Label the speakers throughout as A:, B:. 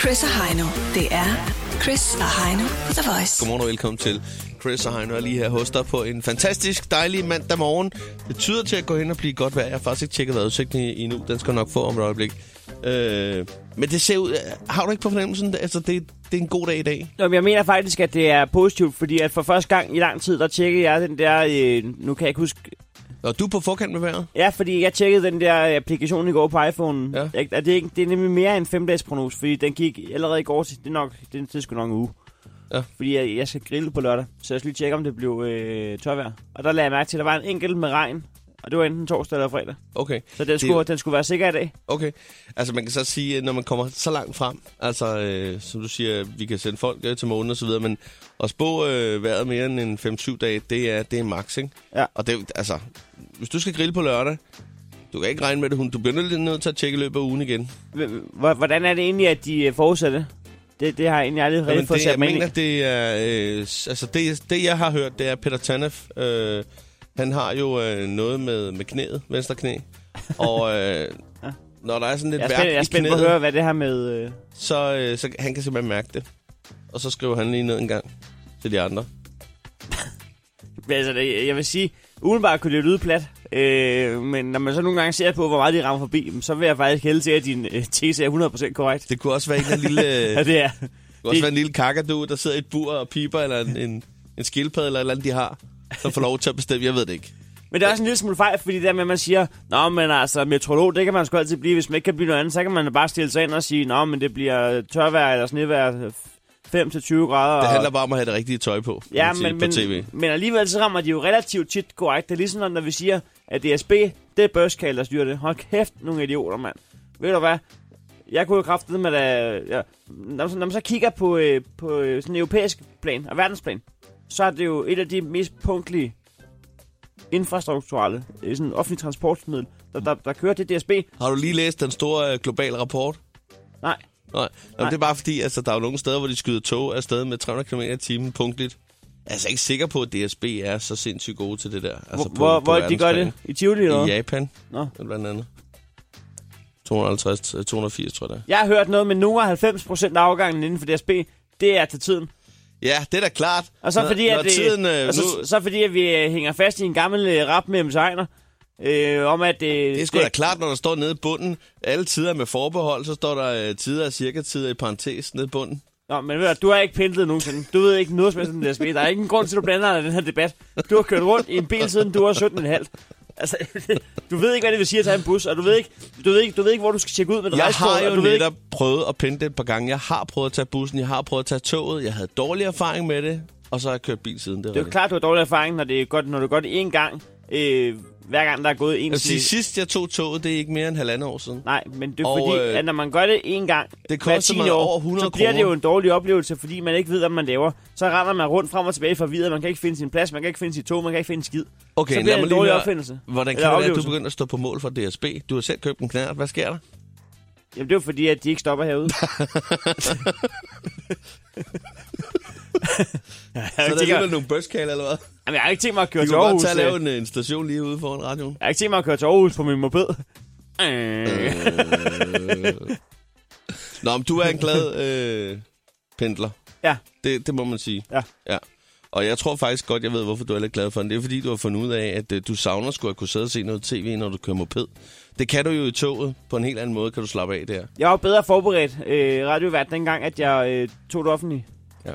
A: Chris og Heino. Det er Chris og Heino på The Voice.
B: Godmorgen og velkommen til. Chris og Heino er lige her hos dig på en fantastisk dejlig mandag morgen. Det tyder til at gå hen og blive godt vejr. Jeg har faktisk ikke tjekket vejrudsigten i- endnu. Den skal nok få om et øjeblik. Øh, men det ser ud... Har du ikke på fornemmelsen? Altså, det, det er en god dag i dag.
C: Nå, men jeg mener faktisk, at det er positivt, fordi at for første gang i lang tid, der tjekkede jeg den der, øh, nu kan jeg ikke huske,
B: Og du er på forkant med vejret?
C: ja, fordi jeg tjekkede den der øh, applikation i går på iPhone.
B: Ja.
C: Ja. Jeg, er det, ikke, det er nemlig mere en femdagsprognose, fordi den gik allerede i går til, det er nok, det, er- det er sgu nok en uge.
B: Ja.
C: Fordi jeg, jeg skal grille på lørdag, så jeg skal lige tjekke, om det blev øh, tørvejr. Og der lagde jeg mærke til, at der var en enkelt med regn, og det var enten torsdag eller fredag.
B: Okay.
C: Så den
B: er
C: skulle,
B: jo-
C: den skulle være sikker i dag.
B: Okay. Altså man kan så sige, at når man kommer så langt frem, altså øh, som du siger, vi kan sende folk øh, til månen og så videre, men at spå øh, vejret mere end en 5-7 dage, det er, det er max, ikke?
C: Ja.
B: Og det, altså, hvis du skal grille på lørdag, du kan ikke regne med det, hun. Du bliver nødt- nødt til at tjekke i løbet af ugen igen.
C: H- h- hvordan er det egentlig, at de øh, forudsætter det? det? Det har jeg egentlig aldrig rigtig
B: Jamen,
C: fået
B: det, jeg
C: sat mig ind i.
B: mener, det er, øh, s- altså det, det, jeg har hørt, det er Peter Tanef, øh, han har jo øh, noget med, med knæet, venstre knæ, og øh,
C: Ja.
B: når der er sådan lidt
C: Jeg er
B: værk
C: spændt, jeg er
B: i
C: spændt på at
B: knæet,
C: høre, hvad det her med... Øh,
B: så, øh, så han kan simpelthen mærke det. Og så skriver han lige ned en gang til de andre.
C: altså, det, jeg vil sige, umiddelbart kunne det lyde plat, øh, men når man så nogle gange ser på, hvor meget de rammer forbi, jamen, så vil jeg faktisk hælde til, at din øh, tese er 100% korrekt.
B: Det kunne også være en, eller anden lille, øh,
C: Ja,
B: det
C: det er.
B: kunne også være en lille kakadu, der sidder i et bur og piper, eller en, en, en skildpadde, eller et eller andet, de har, som får lov til at bestemme. Jeg ved det ikke.
C: Men det er også en lille smule fejl, fordi det der med, at man siger, Nå, men altså, metrolog, det kan man sgu altid blive. Hvis man ikke kan blive noget andet, så kan man bare stille sig ind og sige, Nå, men det bliver tørvejr eller snevejr 5-20 grader.
B: Det
C: og-
B: handler bare om at have det rigtige tøj på, kan
C: Ja,
B: man sige,
C: men,
B: på
C: men,
B: tv.
C: men alligevel så rammer de jo relativt tit korrekt. Det er ligesom når vi siger, at DSB, det er børskal, der styrer det. Hold kæft, nogle idioter, mand. Ved du hvad? Jeg kunne jo kraftede med, at ja, når, man så- når man så kigger på, øh, på øh, sådan en europæisk plan og verdensplan, så er det jo et af de mest punktlige infrastrukturelle, øh, sådan offentlig transportmiddel, der, der, der kører til DSB.
B: Har du lige læst den store øh, globale rapport?
C: Nej,
B: Nej. Nå,
C: Nej.
B: det er bare fordi, altså, der er jo nogle steder, hvor de skyder tog afsted med 300 km i timen punktligt. Jeg er altså ikke sikker på, at DSB er så sindssygt gode til det der. Altså,
C: altså hvor, hvor de gør
B: verdensplan.
C: det? I Tivoli eller
B: I
C: noget?
B: Japan,
C: Nå.
B: blandt andet. 250, øh, 280, tror jeg det er.
C: Jeg har hørt noget med nogle 90% af afgangen inden for DSB, det er til tiden.
B: Ja, det er da klart.
C: Og så
B: Når-
C: fordi,
B: når
C: at, det,
B: tiden, øh,
C: og så,
B: nu,
C: så fordi, at vi øh, hænger fast i en gammel øh, rap med Ems Ejner, øh, om at... Øh,
B: det er sgu da klart, når der står nede i bunden, alle tider med forbehold, så står der øh, tider og cirka tider i parentes nede i bunden.
C: Nå, men ved du, du har ikke pendlet nogensinde. Du ved ikke noget som helst om DSB. Der er ingen grund til, at du blander dig i den her debat. Du har kørt rundt i en bil siden du var 17,5. Altså, du ved ikke, hvad det vil sige at tage en bus, og du ved ikke, du ved ikke, du ved ikke hvor du skal tjekke ud med et
B: Jeg
C: rejsekort,
B: har jo
C: og du ved ikke,
B: netop prøvet at pendle et par gange. Jeg har prøvet at tage bussen, jeg har prøvet at tage toget, jeg havde dårlig erfaring med det, og så har jeg kørt bil siden det.
C: Det er jo klart, du har dårlig erfaring, når det er godt, når du gør det én gang, øh, hver gang der er gået en
B: Jeg vil sige,
C: time.
B: sidst jeg tog toget, det er ikke mere end halvandet år siden.
C: Nej, men det er
B: Og,
C: og, fordi,
B: øh,
C: øh, at når man gør det en gang
B: det
C: hver
B: koster
C: 10
B: mig
C: år,
B: over 100
C: så bliver det
B: kroner.
C: jo en dårlig oplevelse, fordi man ikke ved, hvad man laver. Så render man rundt frem og tilbage for videre, man kan ikke finde sin plads, man kan ikke finde sit tog, man kan ikke finde skid.
B: Okay,
C: så
B: lad
C: bliver det
B: mig
C: en
B: lige
C: dårlig
B: høre.
C: oplevelse.
B: Hvordan kan
C: Eller
B: det være, at du
C: oplevelse.
B: begynder at stå på mål for DSB? Du har selv købt en knært. Hvad sker der?
C: Jamen det er jo fordi, at de ikke stopper herude. ja, jeg, har
B: Så
C: ikke
B: er der
C: tænkt mig,
B: alligevel nogle bøskaler, eller hvad?
C: jamen, jeg har ikke tænkt mig at køre
B: Vi
C: til
B: kunne godt
C: Aarhus.
B: tage og
C: øh.
B: lave en, øh, en station lige ude foran radioen.
C: Jeg har ikke tænkt mig at køre til Aarhus på min moped. Øh.
B: Øh. Nå, men du er en glad øh, pendler.
C: Ja.
B: Det, det må man sige.
C: Ja.
B: ja. Og jeg tror faktisk godt, jeg ved, hvorfor du er lidt glad for den. Det er, fordi du har fundet ud af, at øh, du savner skulle at kunne sidde og se noget tv, når du kører moped. Det kan du jo i toget. På en helt anden måde kan du slappe af der.
C: Jeg var bedre forberedt øh, radiovært dengang, at jeg øh, tog det offentlige.
B: Ja.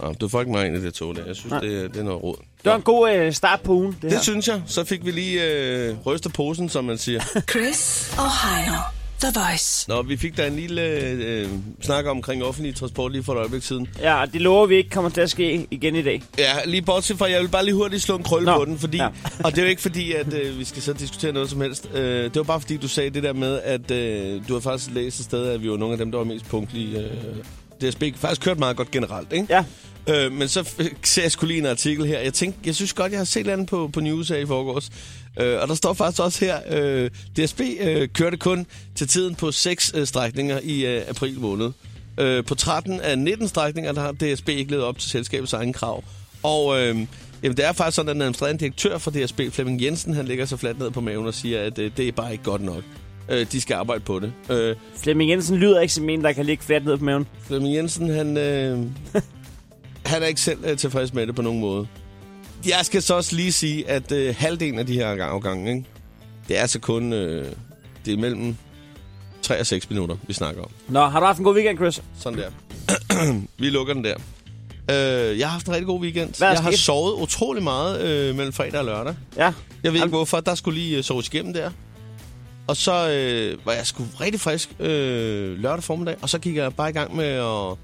B: Nå, du får ikke mig ind i det tog der. Jeg synes,
C: Nej.
B: det, er- det er noget råd.
C: Det var en god øh, start på ugen, det,
B: Det
C: her.
B: synes jeg. Så fik vi lige øh, rystet posen, som man siger.
A: Chris og Heino. The Voice.
B: Nå, vi fik da en lille øh, snak omkring offentlig transport lige for et øjeblik siden.
C: Ja, og det lover vi ikke kommer til at ske igen i dag.
B: Ja, lige bortset fra, jeg vil bare lige hurtigt slå en krølle
C: Nå,
B: på den, fordi, ja.
C: ja.
B: og det er jo ikke fordi, at øh, vi skal så diskutere noget som helst. Øh, det var bare fordi, du sagde det der med, at øh, du har faktisk læst et sted, at vi var nogle af dem, der var mest punktlige. Øh, DSB faktisk kørt meget godt generelt, ikke?
C: Ja,
B: Øh, men så f- ser jeg skulle lige en artikel her. Jeg tænkte, jeg synes godt, jeg har set andet på, på News her i forgårs. Øh, og der står faktisk også her, øh, DSB øh, kørte kun til tiden på seks øh, strækninger i øh, april måned. Øh, på 13 af 19 strækninger, der har DSB ikke levet op til selskabets egen krav. Og øh, jamen, det er faktisk sådan, at den administrerende direktør for DSB, Flemming Jensen, han ligger så fladt ned på maven og siger, at øh, det er bare ikke godt nok. Øh, de skal arbejde på det. Øh,
C: Flemming Jensen lyder ikke som en, der kan ligge fladt ned på maven.
B: Flemming Jensen, han, øh, han er ikke selv øh, tilfreds med det på nogen måde. Jeg skal så også lige sige, at øh, halvdelen af de her afgange, ikke? det er altså kun øh, det er mellem 3 og 6 minutter, vi snakker om.
C: Nå, har du haft en god weekend, Chris?
B: Sådan der. vi lukker den der. Øh, jeg har haft en rigtig god weekend.
C: Hvad er
B: Jeg har
C: sket?
B: sovet utrolig meget øh, mellem fredag og lørdag.
C: Ja.
B: Jeg ved ikke
C: Jamen-
B: hvorfor, der skulle lige øh, soves igennem der. Og så øh, var jeg sgu rigtig frisk øh, lørdag formiddag, og så gik jeg bare i gang med at...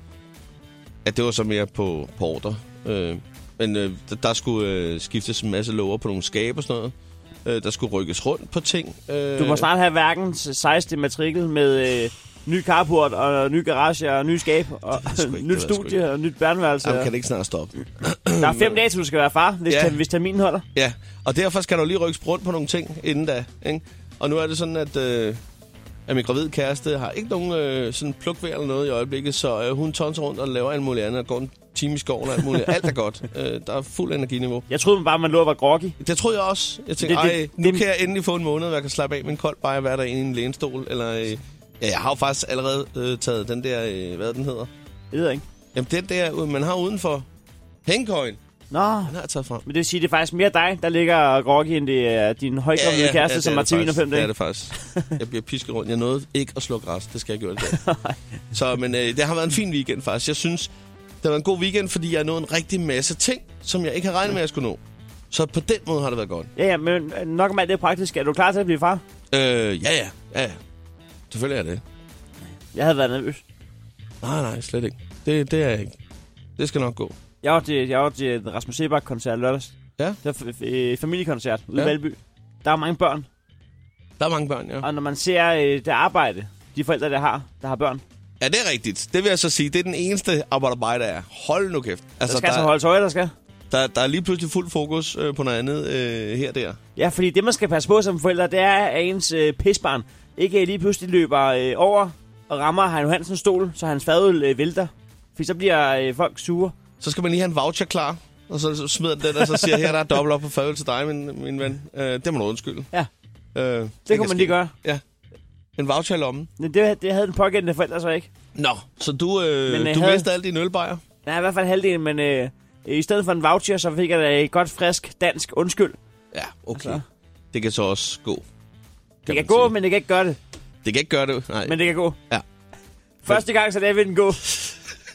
B: Ja, det var så mere på, på ordre. Øh, men øh, der, der skulle øh, skiftes en masse låger på nogle skabe og sådan noget. Øh, der skulle rykkes rundt på ting. Øh,
C: Du må snart have verdens 16. matrikel med øh, ny carport og ny garage og ny skab og
B: ved jeg sgu
C: nyt
B: ikke, det ved jeg sgu
C: studie og nyt børneværelse.
B: Jamen, kan det ikke snart stoppe?
C: Der er fem dage, til du skal være far, hvis,
B: Ja.
C: ja. hvis terminen holder.
B: Ja, og derfor skal der jo lige rykkes rundt på nogle ting inden da. Ikke? Og nu er det sådan, at, øh, at min gravid kæreste har ikke nogen øh, sådan plukvejr eller noget i øjeblikket, så øh, hun tonser rundt og laver alt muligt andet, og går en time i skoven og alt muligt. Alt er godt. Øh, der er fuld energiniveau.
C: Jeg troede bare, man lå og var groggy.
B: Det troede jeg også. Jeg tænkte,
C: Det- det-
B: ej, nu
C: det-
B: kan jeg endelig få en måned, hvor jeg kan slappe af med en kold bajer hver dag inde i en lænestol. Eller, øh, ja, jeg har jo faktisk allerede øh, taget den der, øh, hvad den hedder.
C: Jeg ved jeg ikke.
B: Jamen, den der, øh, man har udenfor. Hængkøjen.
C: Nå,
B: Den har jeg taget frem.
C: men det vil sige, det er faktisk mere dig, der ligger og groggy, end det er din højkommende ja, ja, kæreste, ja,
B: det
C: som
B: er
C: har
B: det
C: til
B: faktisk.
C: fem
B: Det er
C: dage.
B: det faktisk. Jeg bliver pisket rundt. Jeg nåede ikke at slå græs. Det skal jeg gøre i dag. Så, men øh, det har været en fin weekend faktisk. Jeg synes, det har været en god weekend, fordi jeg nåede en rigtig masse ting, som jeg ikke havde regnet med, at jeg skulle nå. Så på den måde har det været godt.
C: Ja, ja, men øh, nok om alt det praktiske. Er du klar til at blive far?
B: Øh, ja, ja, ja, ja. Selvfølgelig er det.
C: Jeg havde været nervøs.
B: Nej, nej, slet ikke. Det, det er jeg ikke. Det skal nok gå.
C: Jeg var til, jeg var til en Rasmus Sebak-koncert lørdags.
B: Ja.
C: Det var f- øh, familiekoncert ude
B: Ja.
C: i Valby. Der er mange børn,
B: Der er mange børn, ja.
C: og når man ser øh, det arbejde, de forældre, der har, der har børn, der
B: Ja, det er rigtigt. Det vil jeg så sige. Det er den eneste arbejderbejde, der er. Hold nu kæft. Altså,
C: skal altså
B: der,
C: holde øje, der skal.
B: der, der er lige pludselig fuld fokus øh, på noget andet øh, her og der.
C: Ja, fordi det, man skal passe på som forældre, det er, at ens øh, pisbarn ikke øh, lige pludselig løber øh, over og rammer Heino Hansens stol, så hans fadøl øh, vælter. Fordi så bliver øh, folk sure.
B: så skal man lige have en voucher klar, og så smider den den, og så siger, her der er dobbelt op på fadøl til dig, min, min ven. Øh, det må du undskylde.
C: Ja.
B: Øh, det,
C: Det
B: kan
C: kunne man
B: ske.
C: lige gøre.
B: En voucher i lommen.
C: Men det, det havde den pågældende forældre så ikke.
B: Nå, så du, øh,
C: Men,
B: Men,
C: øh,
B: du
C: havde-
B: mistede alle dine ølbejer.
C: Nej, i hvert fald halvdelen, men øh, i stedet for en voucher, så fik jeg da et godt, frisk, dansk undskyld.
B: Ja, okay.
C: Altså.
B: Altså. Det kan så også gå.
C: Det
B: man
C: kan gå,
B: sige.
C: men det kan ikke gøre det.
B: Det kan ikke gøre det. Nej.
C: Men det kan gå.
B: Ja.
C: Første gang, så lader vi den gå.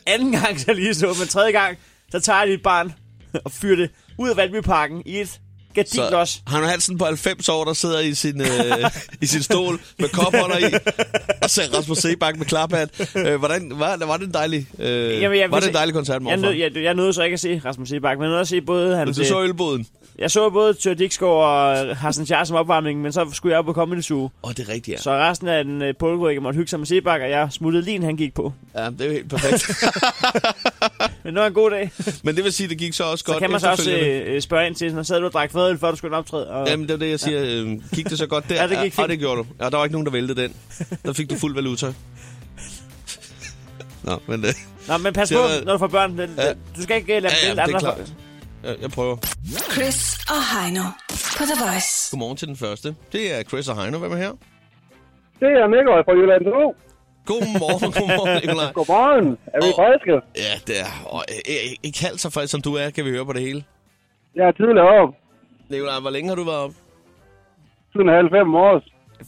C: Anden gang, så lige så. Men tredje gang, så tager jeg dit barn og fyrer det ud af Valbyparken i et
B: så
C: gardinlos.
B: Hanno Hansen på 90 år, der sidder i sin, øh, i sin stol med kopholder i, og ser Rasmus Sebak med klaphat. Øh, hvordan, var, var det en dejlig, øh,
C: Jamen, jeg-
B: var det en dejlig koncert,
C: Jeg,
B: morfar?
C: nød, jeg, jeg nåede så ikke at se Rasmus Sebak, men jeg nåede at se både
B: Men
C: hans...
B: du så
C: øh,
B: ølboden.
C: Jeg så både Tør Dikskov og Hassan Char som opvarmning, men så skulle jeg op på Comedy Zoo.
B: Åh, oh, det er rigtigt, ja.
C: Så resten af den øh, polgrykke måtte hygge sig med Sebak, og jeg smuttede lige, inden han gik på.
B: ja. det er jo helt perfekt.
C: Men nu er en god dag. Så
B: Men det vil sige, det gik så også godt.
C: kan man så også
B: efterfølgende.
C: øh, øh, spørge ind til, når sad du og drak fadøl, før du skulle optræde. Og,
B: Jamen, det er det, jeg siger. Ja. Gik det så godt der?
C: Ja, det gik
B: Ja,
C: fint.
B: det gjorde du. Ja, der var ikke nogen, der væltede den. Der fik du fuld valuta. Nå, men øh,
C: Nå, men pas
B: Det
C: på,
B: har været-
C: når du får børn. Men,
B: Ja.
C: Du skal ikke øh, lade
B: Ja, ja,
C: dem ja,
B: det er
C: andre
B: klart.
C: folk.
B: jeg, jeg prøver.
A: Chris og Heino på The Voice.
B: Godmorgen til den første. Det er Chris og Heino. Hvem er her?
D: Det er Nikolaj fra Jylland Zoo.
B: Godmorgen, godmorgen, Nicolaj.
D: Godmorgen. Er vi
B: Åh.
D: friske?
B: Ja, det er... Og, øh, øh, ikke halvt så frisk, som du er, kan vi høre på det hele.
D: Jeg er tidligere op.
B: Nicolaj, hvor længe har du været op?
D: Siden halv fem år.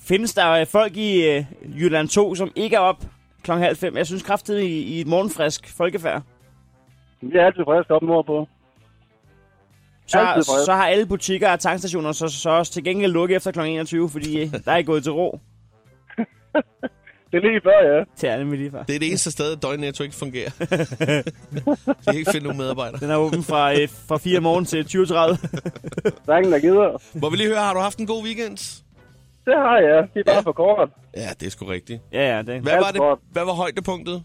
C: Findes der øh, folk i øh, Jylland 2, som ikke er op klokken halv fem? Jeg synes kraftigt i, i et morgenfrisk folkefærd.
D: Vi er altid friske op nordpå. Altid
C: Så,
D: fred.
C: så har alle butikker og tankstationer så, så også til gengæld lukket efter kl. 21, fordi øh, der er ikke gået til ro.
D: Det er lige før, ja.
C: Til alle med lige før.
B: Det er det eneste sted, at døgnnetto ikke fungerer. De kan ikke finde nogen medarbejdere.
C: Den er åben fra, øh, fra 4 om morgenen til 20.30.
D: Der er ingen, der gider.
B: Må vi lige høre, har du haft en god weekend?
D: Det har jeg. Det er bare for kort.
B: Ja, det er sgu rigtigt.
C: ja, ja, det.
B: Hvad var,
D: Alt godt.
B: det, hvad var højdepunktet?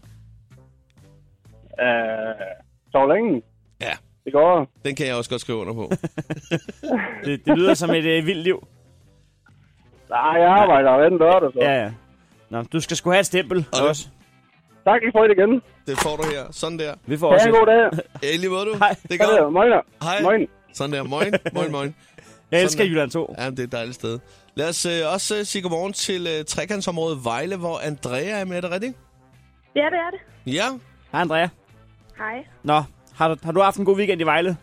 D: Øh, så længe.
B: Ja,
D: Det går.
B: den kan jeg også godt skrive under på.
C: det. Det lyder som et øh, vildt liv.
D: Nej, jeg arbejder hver anden lørdag, så.
C: Ja, ja. Nå, du skal sgu have et stempel
B: Og-
C: også.
D: Tak, I får det igen.
B: Det får du her. Sådan der.
C: Vi får
D: Ha'
C: også
D: en
C: et.
D: god dag.
B: Ja, i lige måde du.
C: Hej.
B: Det er
D: Ha' det.
B: godt.
D: Moin.
B: Hej.
D: Moin.
B: Sådan der. Moin, moin, moin.
C: Jeg elsker
B: Sådan.
C: Jylland 2.
B: Ja, men det er et dejligt sted. Lad os øh, også øh, sige godmorgen til øh, trekantsområdet Vejle, hvor Andrea er med. Er det rigtigt?
E: Ja, det er det.
B: Ja.
C: Hej Andrea.
E: Hej.
C: Nå, har du, har du haft en god weekend i Vejle?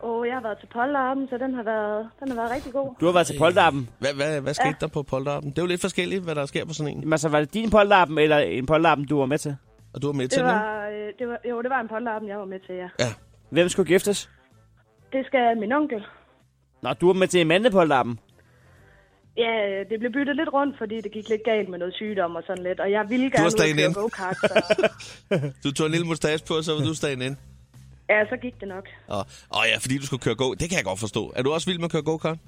E: Og jeg har været til Polterappen, så den har været, den har været rigtig god.
C: Du har været til Polterappen.
B: Hvad, hvad, hvad skete ja. der på polterappen? Det er jo lidt forskelligt, hvad der sker på sådan en.
C: Jamen, altså, var det din Polterappen, eller en Polterappen, du var med til?
B: Og du var med til
E: Det
B: den?
E: var, øh, det var, jo, det var en Polterappen, jeg var med til, ja.
B: Ja.
C: Hvem skulle giftes?
E: Det skal min onkel.
C: Nå, du var med til en mandepolterappen.
E: Ja, øh, det blev byttet lidt rundt, fordi det gik lidt galt med noget sygdom og sådan lidt. Og jeg ville
B: har
E: gerne ud
B: stagen
E: og køre
B: ind.
E: go-kart, så
B: Du tog en lille mustache på, og så var du stagen ind.
E: ja, så gik det nok.
B: Og, og ja, fordi du skulle køre go. Det kan jeg godt forstå. Er du også vild med at køre go-kart?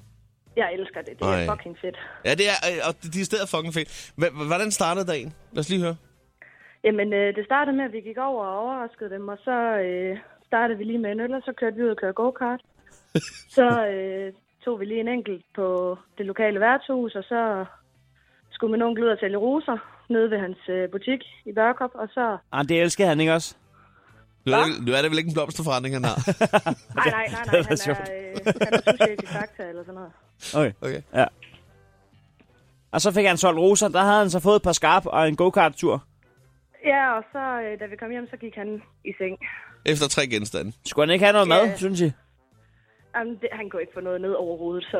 E: Jeg elsker det. Det er
B: Ej.
E: fucking fedt.
B: Ja, det er, øh, og de er stedet fucking fedt. Hva- hva- Hvordan startede dagen? Lad os lige høre.
E: Jamen, øh, det startede med, at vi gik over og overraskede dem, og så øh, startede vi lige med en øl, og så kørte vi ud og kørte go-kart. så øh, tog vi lige en enkelt på det lokale værtshus, og så skulle min onkel ud og sælge roser nede ved hans øh, butik i Børkop, og så...
C: Ah, det elsker han ikke også?
B: Nu er, det, ikke- nu er det vel ikke en blomsterforretning, han har.
E: Nej, nej, nej, nej,
C: det er
E: han er,
C: sjovt.
E: øh, han er souschef i Fakta eller sådan noget.
C: Okay.
B: Okay.
C: Ja. Og så fik han solgt roser. Der havde han så fået et par skarp og en go-kart-tur.
E: Ja, og så øh, da vi kom hjem, så gik han i seng.
B: Efter tre genstande.
C: Skulle han ikke have noget mad,
E: Ja.
C: synes I?
E: Jamen, det, han kunne ikke få noget ned overhovedet, så...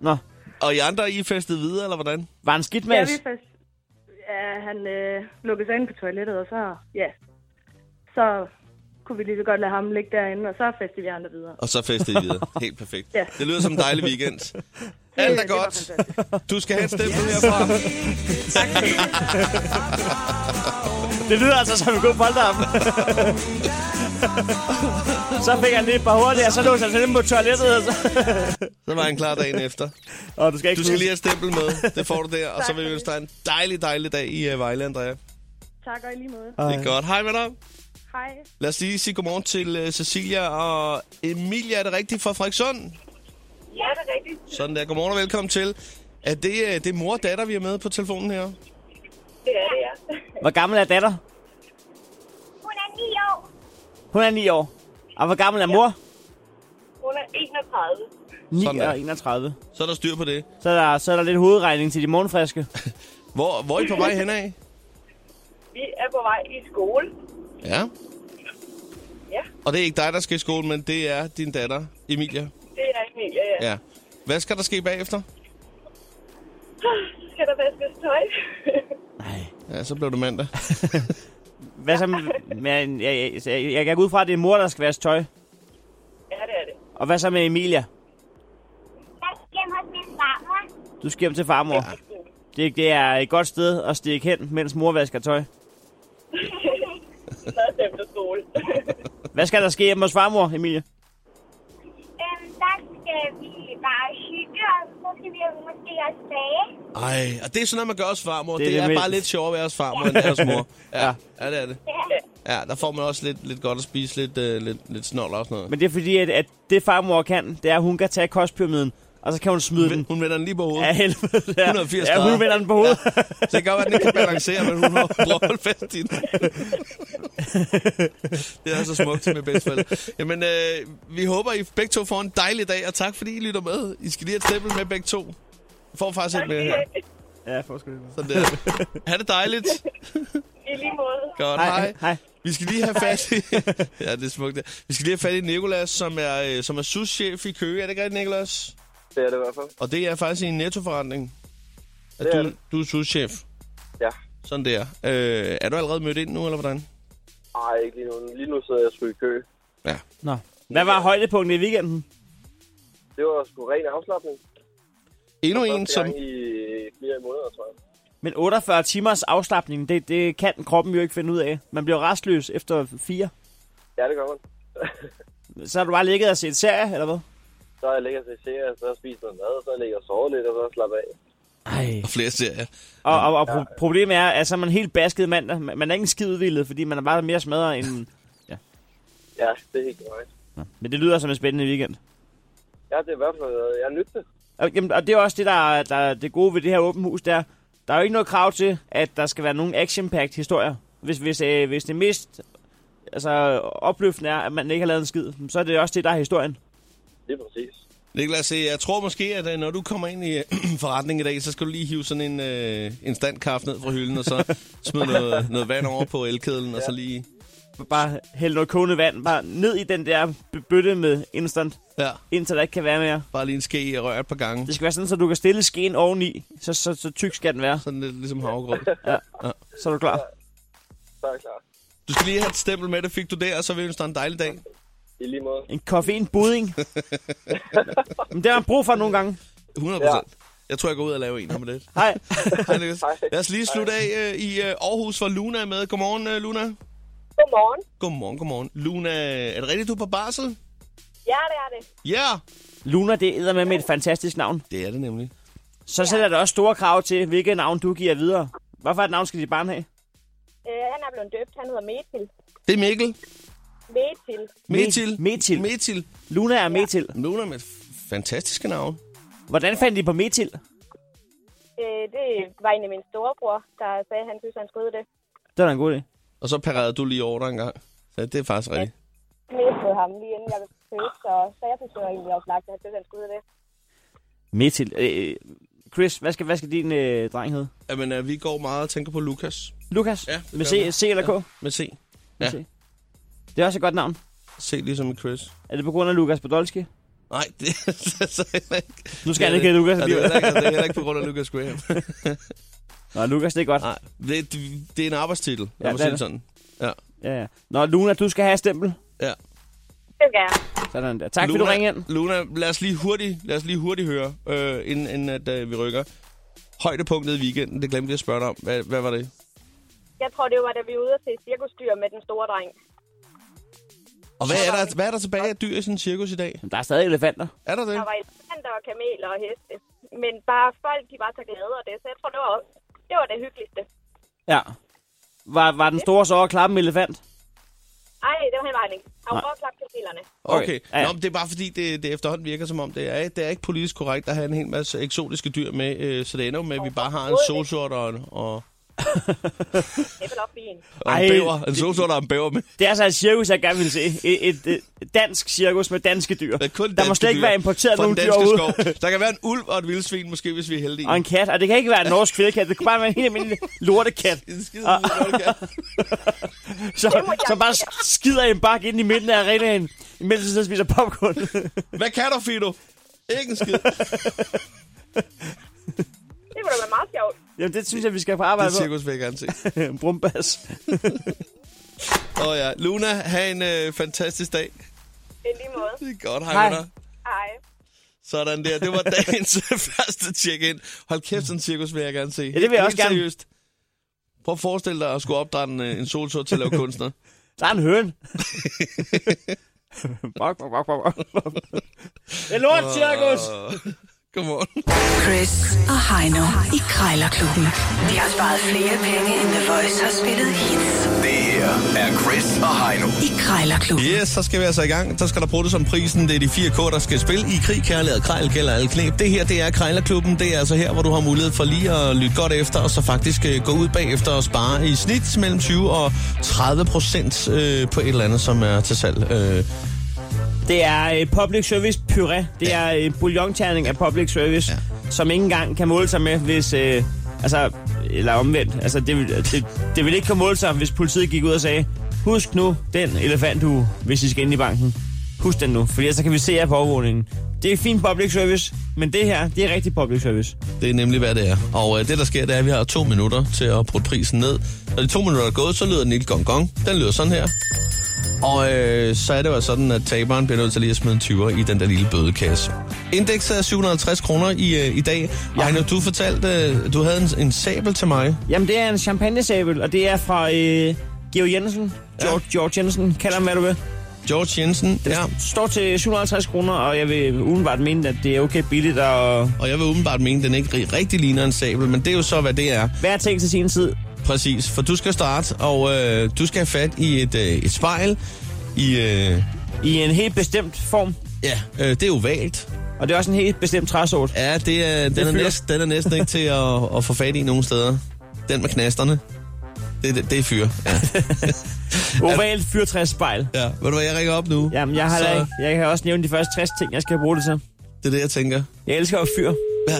C: Nå,
B: Og I andre, I festede videre, eller hvordan?
C: var han skidt med
E: Ja,
C: os?
E: vi fast... ja han øh, lukkede sig ind på toilettet, og så, ja, så kunne vi lige så godt lade ham ligge derinde, og så festede vi andre videre.
B: Og så festede I videre. Helt perfekt.
E: Ja.
B: Det lyder som en dejlig weekend. Alt er godt.
E: Det var fantastisk.
B: Du skal have et stempel herfra.
C: Det lyder altså som en god polterappen. så fik han lige et par hurtigt, og så låste han sig inde på toilettet. Og, så...
B: Så var han klar dagen efter.
C: og du skal ikke
B: Du skal
C: snuse.
B: lige have et stempel med. Det får du der. Og så vil vi ønske dig en dejlig, dejlig dag i øh, Vejle, Andrea.
E: tak og i lige måde.
B: Det er godt. Hej med dig.
E: Hej.
B: Lad os lige sige godmorgen til øh, Cecilia og Emilia. Er det rigtigt fra Frederikssund?
F: Ja, det er rigtigt.
B: Sådan der. Godmorgen og velkommen til. Er det, øh, det er mor og datter, vi er med på telefonen her?
F: Det er det, ja.
C: Hvor gammel er datter?
F: Hun er 9 år.
C: Hun er 9 år. Og hvor gammel er mor?
F: Hun er 31.
C: 9
B: Sådan der.
C: og 31.
B: Så er der styr på det.
C: Så er, der, så er der lidt hovedregning til de morgenfriske.
B: Hvor, hvor er I på vej henad?
F: Vi er på vej i skole.
B: Ja.
F: Ja,
B: Og det er ikke dig, der skal i skole, men det er din datter, Emilia.
F: det er Emilia, ja. ja.
B: Ja. Hvad skal der ske bagefter?
F: Skal der vaskes tøj?
B: Ja, så blev det mandag.
C: Hvad så med... Men jeg, jeg, jeg, jeg kan gå ud fra, at det er mor, der skal vaske tøj.
F: ja, det er det.
C: Og hvad så med Emilia?
G: Jeg skal hjem hos min farmor.
C: Du skal hjem til farmor. Ja. Det, det er et godt sted at stikke hen, mens mor vasker tøj.
F: Så er det efter skole.
C: Hvad skal der ske hjemme hos farmor, Emilie?
G: Øhm, der skal vi bare hygge, og så skal vi måske også bage.
B: Ej, og det er sådan noget, man gør hos farmor.
C: Det
B: Det, er,
C: er
B: det
C: det
B: er
C: mindst.
B: bare lidt sjovere at være hos farmor, end det er hos mor. Ja,
C: Ja.
B: ja det er det.
G: Ja.
B: Ja, der får man også lidt, lidt godt at spise, lidt, øh, lidt, lidt snold og sådan noget.
C: Men det er fordi, at, at det farmor kan, det er, at hun kan tage kostpyramiden, og så kan hun smide
B: Men
C: den
B: hun vender den lige på hovedet.
C: af helvede. Der.
B: 180
C: ja,
B: grader.
C: hun vender den på hovedet. Ja.
B: Så det kan godt være, at den ikke kan balancere, men hun må prøve at holde fast i den. det er så smukt med bedsteforældre. Jamen, øh, vi håber, I begge to får en dejlig dag, og tak fordi I lytter med. I skal lige have et stempel med begge to. Jeg får faktisk et med her.
C: ja, for sgu
B: Sådan der. Ha' det dejligt.
F: I lige måde.
B: Godt,
C: Hej,
B: hej.
C: hej.
B: Vi skal lige have fat i... ja, det er smukt. det. Vi skal lige have fat i Nikolas, som er, øh, som er souschef i Køge. Er det ikke rigtigt, Nikolas?
H: Det er det i hvert fald.
B: Og det er faktisk i en nettoforretning. At
H: Det er
B: du,
H: det.
B: du er souschef.
H: Ja.
B: Sådan der. Øh, er du allerede mødt ind nu, eller hvordan?
H: Ej, ikke lige nu. Lige nu sidder jeg sgu i kø.
B: Ja.
C: Nå. Hvad var højdepunktet i weekenden?
H: Det var sgu ren afslappning.
B: Endnu
H: Første
B: en, som...
H: gang i flere måneder, tror jeg.
C: Men 48 timers afslappning, det, det kan kroppen jo ikke finde ud af. Man bliver restløs efter fire.
H: Ja, det gør man.
C: Så har du bare ligget og set serie, eller hvad?
H: Så jeg ligger til serie, så spiser noget mad, så ligger jeg og sover lidt, og så slapper jeg af.
C: Ej.
B: Og flere serier.
C: Og, og, og pro- problemet er, at så er man helt basket mandag. Man man er ikke en skid udvildet, fordi man er bare mere smadret end...
H: Ja, det er helt korrekt.
C: Men det lyder som en spændende weekend.
H: Ja, det er i hvert fald, øh, jeg er nyt det.
C: Og, jamen, og det er også det, der, er- der er det gode ved det her åbent hus, der, der er jo ikke noget krav til, at der skal være nogen action-packed historier. Hvis, hvis, øh, hvis det mest altså, opløftende er, at man ikke har lavet en skid, så er det også det, der er historien.
H: Lige præcis.
B: Niklas, øh, jeg tror måske, at øh, når du kommer ind i øh, forretningen i dag, så skal du lige hive sådan en, øh, en standkaffe ned fra hylden, og så smide noget, noget vand over på elkedlen, og så lige...
C: Bare hælde noget kogende vand, bare ned i den der b- bøtte med instant,
B: Ja,
C: indtil der ikke kan være mere.
B: bare lige en ske i og rør et par gange.
C: Det skal være sådan, så du kan stille skeen oveni, så, så, så tyk skal den være,
B: Sådan lidt ligesom havregrød.
C: så er du klar.
H: Så er jeg klar.
B: Du skal lige have et stempel med det, fik du det, og så vil du en dejlig dag.
H: I lige måde.
C: En koffeinbudding. Men det har man brug for nogle gange.
B: 100 procent. Jeg tror, jeg går ud og laver en om lidt.
C: Hej.
B: Hej, Niklas. Lad os lige slutte af øh, i øh, Aarhus, hvor Luna er med. Godmorgen, øh, Luna.
F: Godmorgen.
B: Godmorgen, godmorgen. Luna, er det rigtigt, du er på barsel?
F: Ja, det er det.
B: Ja! Yeah.
C: Luna, det æder med med et fantastisk navn.
B: Det er det nemlig.
C: Så sætter der også store krav til, hvilket navn du giver videre. Hvad for et navn skal dit barn have?
F: Øh, han er blevet døbt. Han hedder Metil.
B: Det er Mikkel.
F: Metil.
B: Metil.
C: Metil.
B: Metil.
C: Luna er Metil.
B: Luna med f- fantastiske navn.
C: Hvordan fandt I på Metil?
F: Øh, det var en af min storebror, der sagde, at han synes, han skulle det.
C: Det var da en god idé.
B: Og så parerede du lige over dig en gang. Så det er faktisk rigtigt.
F: Mistede ham lige inden jeg blev født, så, så jeg synes, det var egentlig oplagt, at han synes, han skulle det.
C: Metil. Øh, Chris, hvad skal, hvad skal din øh, dreng hedde?
B: Jamen, øh, vi går meget og tænker på Lukas.
C: Lukas?
B: Ja, det
C: med
B: gør vi.
C: C, C eller K?
B: Med C.
C: Med
B: Ja.
C: C. Det er også et godt navn.
B: C ligesom i Chris.
C: Er det på grund af Lukas Podolski?
B: Nej, det er så heller ikke.
C: Nu skal han ikke hedde Lukas
B: Ja, det, er
C: alligevel.
B: heller ikke, det er heller ikke på grund af Lucas Graham.
C: Nå, Lukas, det er godt.
B: Nej, det, det er en arbejdstitel.
C: Ja,
B: Ja,
C: det er
B: må sige
C: det.
B: det sådan. Ja.
C: Ja, ja. Nå, Luna, du skal have et stempel.
B: ja.
F: Det skal jeg.
C: Sådan der. Tak, fordi du ringede ind.
B: Luna, lad os lige hurtigt, lad os lige hurtigt høre, øh, inden, inden at, øh, vi rykker. Højdepunktet i weekenden, det glemte vi at spørge dig om. Hvad, hvad var det?
F: Jeg tror, det var, da vi var ude og se cirkusdyr med den store dreng.
B: Og hvad er der, hvad er der tilbage af dyr i sådan en cirkus i dag?
C: Men der er stadig elefanter.
B: Er der det?
F: Der var elefanter og kameler og heste. Men bare folk, de var så glade og det, så jeg tror, det var, det, var det hyggeligste.
C: Ja. Var, var den store så over at klappe en elefant?
F: Ej, det var han var ikke. Han var klap til bilerne.
B: Okay.
C: Ja, ja.
B: Nå, men det er bare fordi, det, det efterhånden virker som om, det er, det er ikke politisk korrekt at have en hel masse eksotiske dyr med, øh, så det ender jo med, at vi bare har en solsort og en, og,
F: Det er vel op i en.
B: og
C: Ej,
B: en bæver. En
C: det-
B: solsort og en bæver med.
C: Det er altså et cirkus, jeg gerne vil se. Et, et, et dansk cirkus med danske dyr.
B: Der, er
C: der
B: kun
C: må
B: danske
C: slet ikke
B: dyr
C: være importeret
B: fra
C: nogen
B: den
C: dyr
B: danske
C: ud.
B: skov. Der kan være en ulv og et vildsvin, måske, hvis vi er heldige.
C: Og en kat. Og det kan ikke være en norsk fældekat. Det kan bare være en helt almindelig lortekat.
B: En skide lille kat.
C: Så, som bare skider i en bakke ind i midten af arenaen, imens du sidder og spiser popcorn.
B: Hvad kan du, Fido? Ikke en skid.
F: Det kunne da være meget sjovt.
C: Jamen, det synes jeg, vi skal på
B: Det
C: arbejde
B: er cirkus, vil jeg gerne se.
C: på. Brumbas.
B: Og ja, Luna, have en øh, fantastisk dag.
F: Det er lige måde.
B: Det er godt, hej,
C: Hej.
B: hej. med dig.
F: Ej.
B: Sådan der, det var dagens øh, første check-in. Hold kæft, sådan en cirkus vil jeg gerne se. Ja,
C: det vil jeg også gerne.
B: Seriøst. Prøv at forestille dig at skulle opdrætte en, øh, en solsort til at lave kunstner.
C: Der er en høn. bok, bok, bok, bok, bok. Det er lort, cirkus!
B: Godmorgen.
A: Chris og Heino i Krejlerklubben. De har sparet flere penge, end The Voice har spillet hits
I: Det her er Chris og Heino.
A: i Krejlerklubben.
B: Yes, så skal vi altså i gang. Så skal der bruges som prisen. Det er de fire K, der skal spille i krig, kærlighed og krejl, gælder alle knep. Det her, det er Krejlerklubben. Det er altså her, hvor du har mulighed for lige at lytte godt efter, og så faktisk øh, gå ud bagefter og spare i snit mellem 20 og 30 procent øh, på et eller andet, som er til salg. Øh,
C: Det er øh, public service puré. Det er øh, bouillonterning af public service, ja. som ikke engang kan måle sig med, hvis... Øh, altså, eller omvendt. Altså, det, vil- det, det vil ikke kunne måle sig, hvis politiet gik ud og sagde, husk nu den elefanthue, hvis I skal ind i banken. Husk den nu, for ellers så kan vi se jer på overvågningen. Det er fint public service, men det her, det er rigtig public service.
B: Det er nemlig, hvad det er. Og øh, det, der sker, det er, at vi har to minutter til at putte prisen ned. Når de to minutter er gået, så lyder den lille gong gong. Den lyder sådan her. Og øh, så er det jo sådan, at taberen bliver nødt til lige at smide en 20'er i den der lille bødekasse. Indekset er 750 kroner i, øh, i dag. Ja. Ejner, du fortalte, øh, du havde en, en sabel til mig.
C: Jamen, det er en champagnesabel, og det er fra øh, Georg Jensen. George, ja. George Jensen, kald ham hvad du vil.
B: George Jensen, ja.
C: Står til 750 kroner, og jeg vil udenbart mene, at det er okay billigt, og
B: Og jeg vil åbenbart mene, at den ikke ri- rigtig ligner en sabel, men det er jo så, hvad det er.
C: hver ting til sin tid.
B: Præcis, for du skal starte, og øh, du skal have fat i et, øh, et spejl. I, øh,
C: I en helt bestemt form.
B: ja, øh, det er ovalt.
C: Og det er også en helt bestemt træsort.
B: Ja, det er, den, er
C: fyr.
B: næsten, den er næsten ikke til at, at få fat i nogen steder. Den med knasterne. Det, det, det er fyre. Ja.
C: Oval fyrtræsspejl.
B: ja. Ved du hvad, jeg ringer op nu.
C: Jamen, jeg har
B: så,
C: da ikke. Jeg kan også nævne de første 60 ting, jeg skal bruge det til.
B: Det er det, jeg tænker.
C: Jeg elsker at fyre.
B: Ja,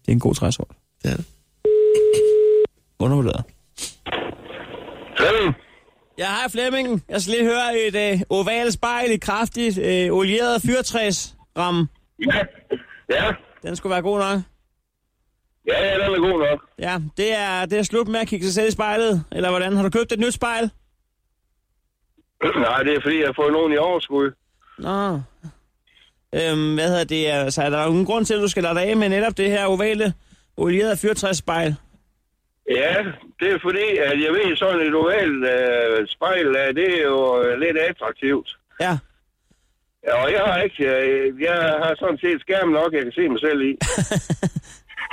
C: Det er en god træsort.
B: det er det.
C: Undervurderet.
D: Flemming,
C: Jeg har Flemmingen. Jeg skal lige høre et øh, ovalt spejl i kraftigt øh, olieret fyrtræs ramme.
D: ja, ja,
C: Den skulle være god nok.
D: ja, ja, den er god nok.
C: Ja, det er, det er slut med at kigge sig selv i spejlet. Eller hvordan? Har du købt et nyt spejl?
D: Nej, det er fordi, jeg har fået nogen i overskud.
C: Nå. Øhm, hvad hedder det? Altså, er der nogen grund til, at du skal lade dig af med netop det her ovale olierede fyrtræsspejl?
D: Ja, det er fordi, at jeg ved, sådan et ovalt øh, spejl, øh, det er jo øh, lidt attraktivt.
C: Ja.
D: Ja, og jeg har ikke, øh, jeg har sådan set skærm nok, jeg kan se mig selv i.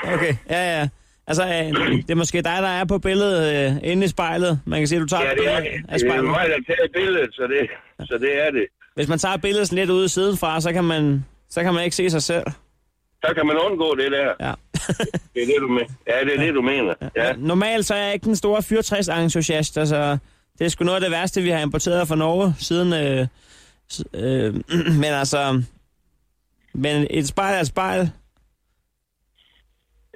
C: Okay. Ja, ja. Altså, øh, det er måske dig, der er på billedet øh, inde i spejlet. Man kan se, at du tager
D: Ja,
C: et
D: det er,
C: billede af
D: det er
C: spejlet.
D: mig, der tager billedet, så det, så det er det.
C: Hvis man tager billedet sådan lidt ude sidenfra, så kan man, så kan man ikke se sig selv.
D: Så kan man undgå det der.
C: Ja.
D: Det er det, du mener. Ja, det er det, du mener. Ja.
C: Normalt så er jeg ikke den store 64 entusiast altså det er sgu noget af det værste, vi har importeret fra Norge siden... Øh, s- øh, men altså... Men et spejl er et spejl.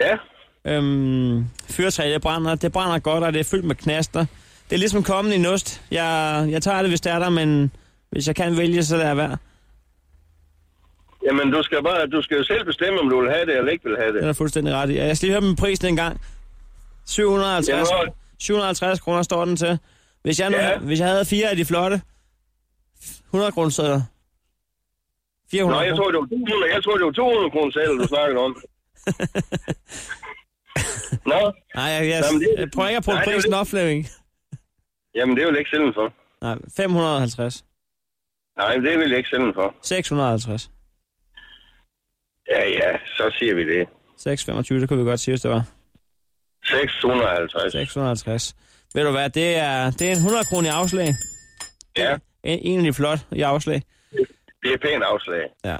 D: Ja.
C: Øhm, fyrtræ, det brænder, det brænder godt, og det er fyldt med knaster. Det er ligesom kommen i nust. Jeg, jeg tager det, hvis det er der, men hvis jeg kan vælge, så lader jeg være.
D: Jamen, du skal, bare, du skal jo selv bestemme, om du vil have det eller ikke vil have
C: Det er
D: det.
C: der fuldstændig ret i. Og Jeg skal lige høre min pris en gang. 750,
D: Ja, hvor-
C: 750 kroner står den til. Hvis jeg, nu,
D: Ja.
C: hvis jeg havde fire af de flotte 100 kroner sædler.
D: Nå,
C: 400
D: jeg
C: kroner.
D: tror, det var 200, jeg tror, det var 200 kroner selv, du snakkede om. Nå,
C: Nej, jeg, jeg,
D: Jamen, det-
C: jeg prøver ikke at prøve
D: Nej, det er jo
C: prisen
D: det.
C: op, Flemming.
D: jamen det vil jeg ikke sælge den for.
C: Nej, 550.
D: Nej, det vil jeg ikke sælge den for.
C: 650.
D: Ja, ja, så siger vi det.
C: 625, det kunne vi godt sige, hvis det var.
D: 650.
C: 650. Ved du hvad, det er, det er en 100 kroner i afslag.
D: Ja,
C: En, egentlig flot i afslag.
D: det er et pænt afslag.
C: Ja.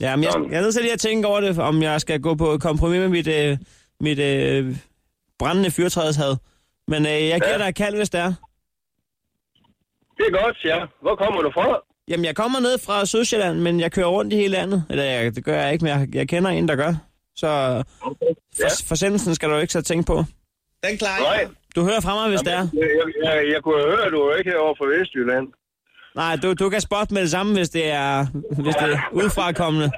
C: Ja, men jeg,
D: Sådan.
C: jeg er nødt til lige at tænke over det, om jeg skal gå på kompromis med mit, øh, mit øh, brændende fyrtrædeshad. Men øh, jeg giver
D: Ja.
C: dig et kald, hvis det er.
D: Det er godt, ja. Hvor kommer du fra?
C: Jamen, jeg kommer ned fra Sydsjælland, men jeg kører rundt i hele landet. Eller jeg, det gør jeg ikke, men jeg, jeg kender en, der gør. Så for,
D: Ja.
C: forsendelsen skal du ikke så tænke på.
B: Den klarer jeg.
D: Nej,
C: Du hører fra mig, hvis det er.
D: jeg, jeg, jeg, jeg kunne høre, at du er ikke herovre fra Vestjylland.
C: Nej, du, du kan spotte med det samme, hvis det er, hvis det er udefrakommende.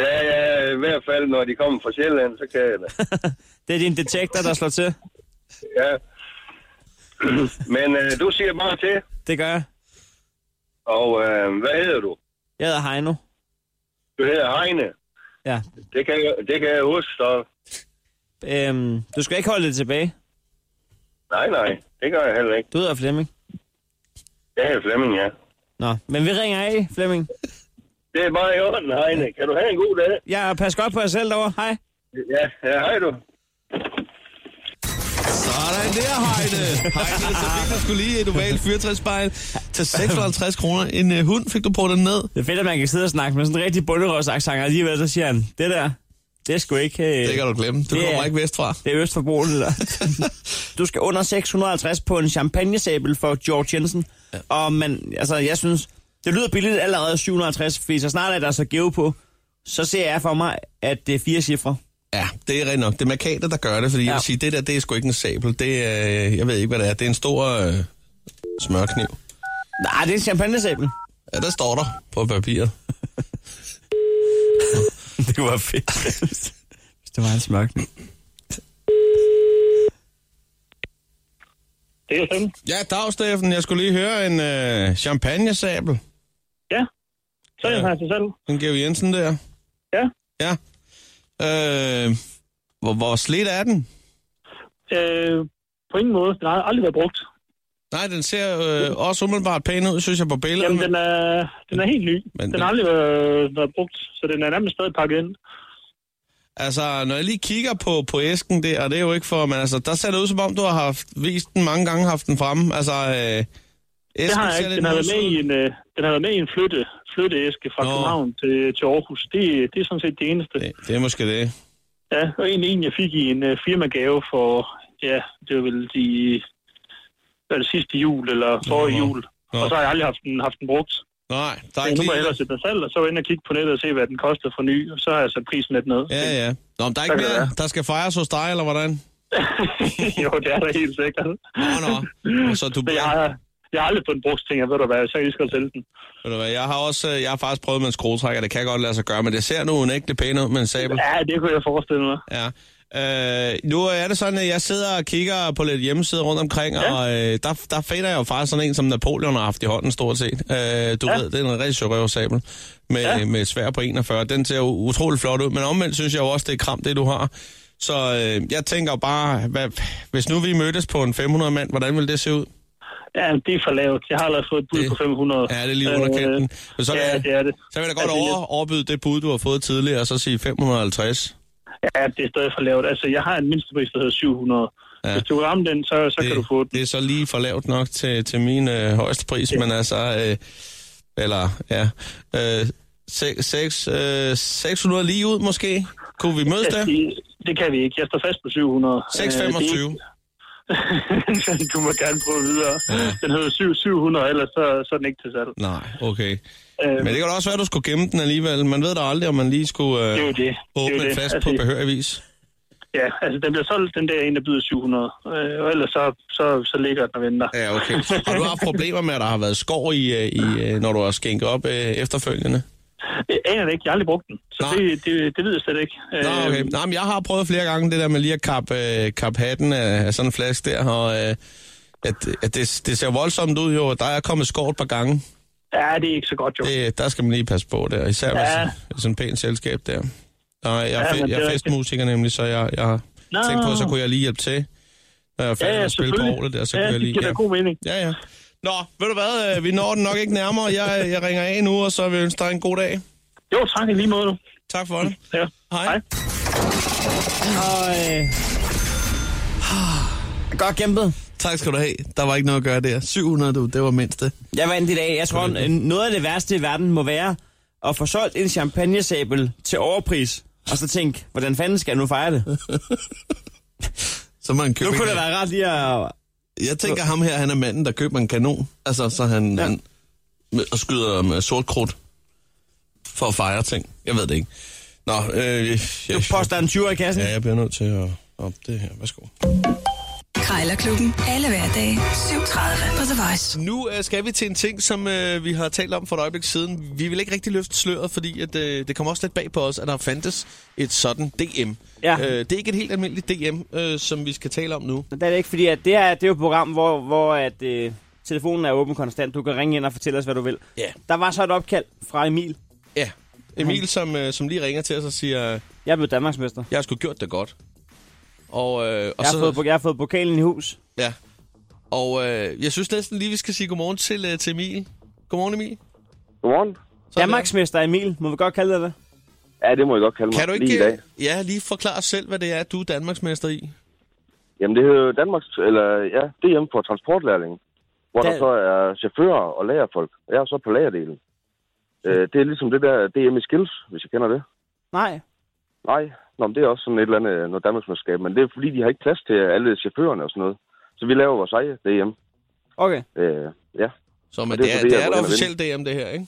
D: Ja, ja, i hvert fald, når de kommer fra Sjælland, så kan jeg det.
C: Det er din detektor, der slår til.
D: Ja. Men øh, du siger bare til,
C: Det gør jeg.
D: og øh, hvad hedder du?
C: Jeg hedder Heino.
D: Du hedder Heine.
C: Ja.
D: Det kan jeg, det kan jeg huske, så...
C: Øhm, du skal ikke holde det tilbage.
D: Nej, nej, det gør jeg heller ikke.
C: Du hedder Flemming.
D: Jeg hedder Flemming, ja.
C: Nå, men vi ringer af, Flemming.
D: Det er bare i orden, Heine. Kan du have en god dag?
C: Ja, pas godt på jer selv derovre. Hej.
D: Ja, ja hej du.
B: Sådan der, Heine. Heine, så fik du skulle lige et ovalt fyrtræsspejl til 56 kroner. En øh, hund fik du på den ned.
C: Det er fedt, at man kan sidde og snakke med sådan en rigtig bunderøvsaksang, og alligevel så siger han, det der, det er sgu ikke... Øh,
B: Det kan du glemme. Du
C: Det er-
B: kommer ikke vest fra.
C: det er Østforbrugen, det der. du skal under 650 på en champagnesabel for George Jensen. Ja. Og man, altså, jeg synes, det lyder billigt allerede 750, fordi så snart er der så gave på, så ser jeg for mig, at det er fire cifre.
B: Ja, det er rent nok. Det er markater, der gør det, fordi ja. jeg
C: Ja.
B: vil sige, det der, det er sgu ikke en sabel. Det er, øh, jeg ved ikke, hvad det er. Det er en stor øh, smørkniv.
C: Nej, det er en champagnesabel.
B: Ja, der står der på papiret.
C: Det kunne være fedt. Hvis det var en smørkning.
D: Det er Flemming.
B: Ja, dag, Steffen. Jeg skulle lige høre en øh, champagnesabel.
D: Ja. Så
B: Ja.
D: til selv.
B: Den Georg Jensen der.
D: Ja.
B: Ja. Øh, hvor, hvor slidt er den?
D: Øh, på ingen måde. Den har aldrig været brugt.
B: Nej, den ser øh, også umiddelbart pæn ud, synes jeg, på billederne.
D: Jamen, den er, den er helt ny.
B: Men-
D: Men, den har aldrig været, været brugt, så den er nærmest stadig pakket ind.
B: Altså, når jeg lige kigger på, på æsken der, og det er jo ikke for, men altså, der ser det ud som om, du har haft, vist den mange gange, haft den fremme. Altså, øh, æsken
D: Det har jeg
B: ser
D: ikke.
B: lidt
D: Den har været med
B: nusset
D: i
B: ud.
D: en, øh, den har været med i en flytte, flytteæske fra
B: Nå.
D: Nå. København til, til Aarhus. Det, det er sådan set det eneste.
B: det, det er måske det.
D: Ja, og en, en jeg fik i en øh, firmagave for, ja, det var vel de, var det sidste jul eller forrige
B: Nå.
D: jul.
B: Nå.
D: Og så har jeg aldrig haft den, haft den brugt.
B: Nej, der er
D: Men
B: ikke
D: nu må jeg
B: lige...
D: hellere sætte mig selv, og så ind og kigge på nettet og se, hvad den koster for ny, og så har jeg sat prisen lidt ned.
B: Ja, ja. Nå, men der er
D: Så
B: ikke
D: kan det
B: mere,
D: være.
B: der skal fejres hos dig, eller hvordan?
D: jo, det er da helt sikkert.
B: Nå, nå. Og så du
D: Men jeg,
B: bliver...
D: har, jeg har aldrig fået en brugt ting, jeg ved du hvad, så kan jeg lige så godt sælge den.
B: Ved du hvad, jeg har også øh, jeg har faktisk prøvet med en skruetrækker, det kan godt lade sig gøre, men det ser nu en ægte pæn ud med en sabel.
D: Ja, det kunne jeg forestille mig.
B: Ja. Øh, nu er det sådan, at jeg sidder og kigger på lidt hjemmesider rundt omkring, ja.
D: Ja.
B: og øh, der, der finder jeg jo faktisk sådan en, som Napoleon har haft i hånden stort set. Øh, du ja.
D: Ja.
B: ved, det er en rigtig sjov sabel med, ja. med et svær på 41. Den ser jo utrolig flot ud, men omvendt synes jeg jo også, det er kram, det du har. Så øh, jeg tænker bare, hvad, hvis nu vi mødtes på en 500 mand, hvordan ville det se ud?
D: Ja, det er for lavt. Jeg har allerede fået et bud
B: Det-
D: det, på 500.
B: Ja, det er lige under kanten. Men så,
D: Så,
B: kan
D: ja,
B: jeg-
D: det er det.
B: Så vil jeg da
D: Altså,
B: godt over, overbyde det bud, du har fået tidligere, og så sige 550.
D: Ja, det er stadig for lavt. Altså, jeg har en mindstepris, der hedder 700.
B: Ja.
D: Ja. Hvis du kan ramme den, så, så det, kan du få den.
B: det er så lige for lavt nok til, til min øh, højeste pris, men altså, øh, eller ja, øh, se- seks, øh, 600 lige ud måske. Kunne vi mødes der?
D: Altså, det, det kan vi ikke. Jeg står fast på 700. Øh,
B: 625.
D: det- du må gerne prøve videre. Den hedder 7, 700, ellers så, så er den ikke til salg.
B: Nej, okay.
D: Øh,
B: Men det kan da også være, at du skulle gemme den alligevel. Man ved da aldrig, om man lige skulle
D: det er jo
B: øh,
D: det. det, er
B: åbne
D: jo
B: en
D: det.
B: flaske
D: altså,
B: på behørig vis.
D: Ja, altså den bliver solgt, den der en, der byder 700. Øh, og ellers så, så, så ligger den og venter.
B: Ja, okay. Har du haft problemer med, at der har været skår i, øh, i øh, når du har skænket op øh, efterfølgende?
D: Jeg aner det ikke. Jeg har aldrig brugt den. Så
B: Nej.
D: det, det, det ved jeg slet ikke.
B: Nå, okay.
D: Øh,
B: Nå, men jeg har prøvet flere gange det der med lige at kappe, øh, kappe hatten af, af sådan en flaske der, og øh, at, at det, det ser voldsomt ud jo. Der er kommet skår et par gange.
D: Ja, det er ikke så godt, jo.
B: Det, der skal man lige passe på der, især ja. hvis
D: Ja.
B: hvis sådan et pænt selskab der. Og jeg,
D: Ja,
B: er fe-
D: men det
B: jeg er
D: er
B: festmusiker nemlig, så jeg, jeg
D: Nå.
B: tænkte på, så kunne jeg lige hjælpe til. Når jeg er færdig
D: Ja,
B: med
D: ja,
B: at spille på
D: selvfølgelig.
B: orlet der, så
D: ja,
B: kunne jeg
D: det
B: lige...
D: giver da god mening.
B: Ja, ja. Nå, ved du hvad, øh, vi når den nok ikke nærmere. Jeg, jeg ringer af nu, og så vil jeg ønske dig en god dag.
D: Jo, tak i lige måde nu.
B: Tak for det.
D: Ja.
B: Hej.
D: Hej.
C: Og, øh... Godt kæmpet.
B: Tak skal du have. Der var ikke noget at gøre der. 700, du, det var mindste.
C: Jeg vandt i dag. Jeg tror, n- noget af det værste i verden må være at få solgt en champagnesabel til overpris. Og så tænke, hvordan fanden skal jeg nu fejre det?
B: Så man
C: Nu
B: køber
C: kunne det være ret lige at...
B: Jeg tænker, ham her, han er manden, der køber en kanon. Altså, så han, ja. han med- og skyder med sort krudt for at fejre ting. Jeg ved det ikke. Nå, øh, jeg,
C: Du poster en 20 i kassen.
B: ja, jeg bliver nødt til at op det her. Værsgo.
A: Krejlerklubben. Alle hverdage 7.30 på The Voice.
B: Nu øh, skal vi til en ting, som øh, vi har talt om for et øjeblik siden. Vi vil ikke rigtig løfte sløret, fordi at, øh, det kommer også lidt bag på os, at der fandtes et sådan DM.
C: Ja.
B: Øh, det er ikke et helt almindeligt DM, øh, som vi skal tale om nu.
C: Det er det ikke, fordi at det her det er jo et program, hvor, hvor at, øh, telefonen er åben konstant. Du kan ringe ind og fortælle os, hvad du vil.
B: Ja.
C: Der var så et opkald fra Emil.
B: Ja. Emil, som, øh, som lige ringer til os og siger, øh,
C: Jeg blev Danmarksmester.
B: jeg har sgu gjort det godt. Og, øh, og
C: Jeg har, fået, bu- jeg har fået pokalen i hus.
B: Ja. Og øh, jeg synes næsten lige, vi skal sige godmorgen til, øh, til Emil. Godmorgen, Emil.
H: Godmorgen.
B: Sådan
C: Danmarksmester Emil, må vi godt kalde dig det?
H: Ja, det må jeg godt kalde
B: der.
H: mig
B: Kan du
H: lige i
B: ikke
H: dag.
B: øh, ja, lige forklare os selv, hvad det er, du er Danmarksmester i?
H: Jamen, det hedder jo Danmarks, eller ja, DM for transportlærlingen, hvor der
C: Da-
H: så er chauffører og lagerfolk. Jeg er så på lagerdelen. Øh, det er ligesom det der DM i Skills, hvis jeg kender det.
C: Nej.
H: Nej, Nå, men det er også sådan et eller andet noget Danmarksmandskab, men det er fordi, de har ikke plads til alle chaufførerne og sådan noget. Så vi laver vores eget DM.
C: Okay.
H: Øh, ja,
B: Så men
H: det er
B: det, er,
H: fordi,
B: det
H: jeg
B: er
H: går
B: et
H: ind og
B: officielt DM, det her, ikke?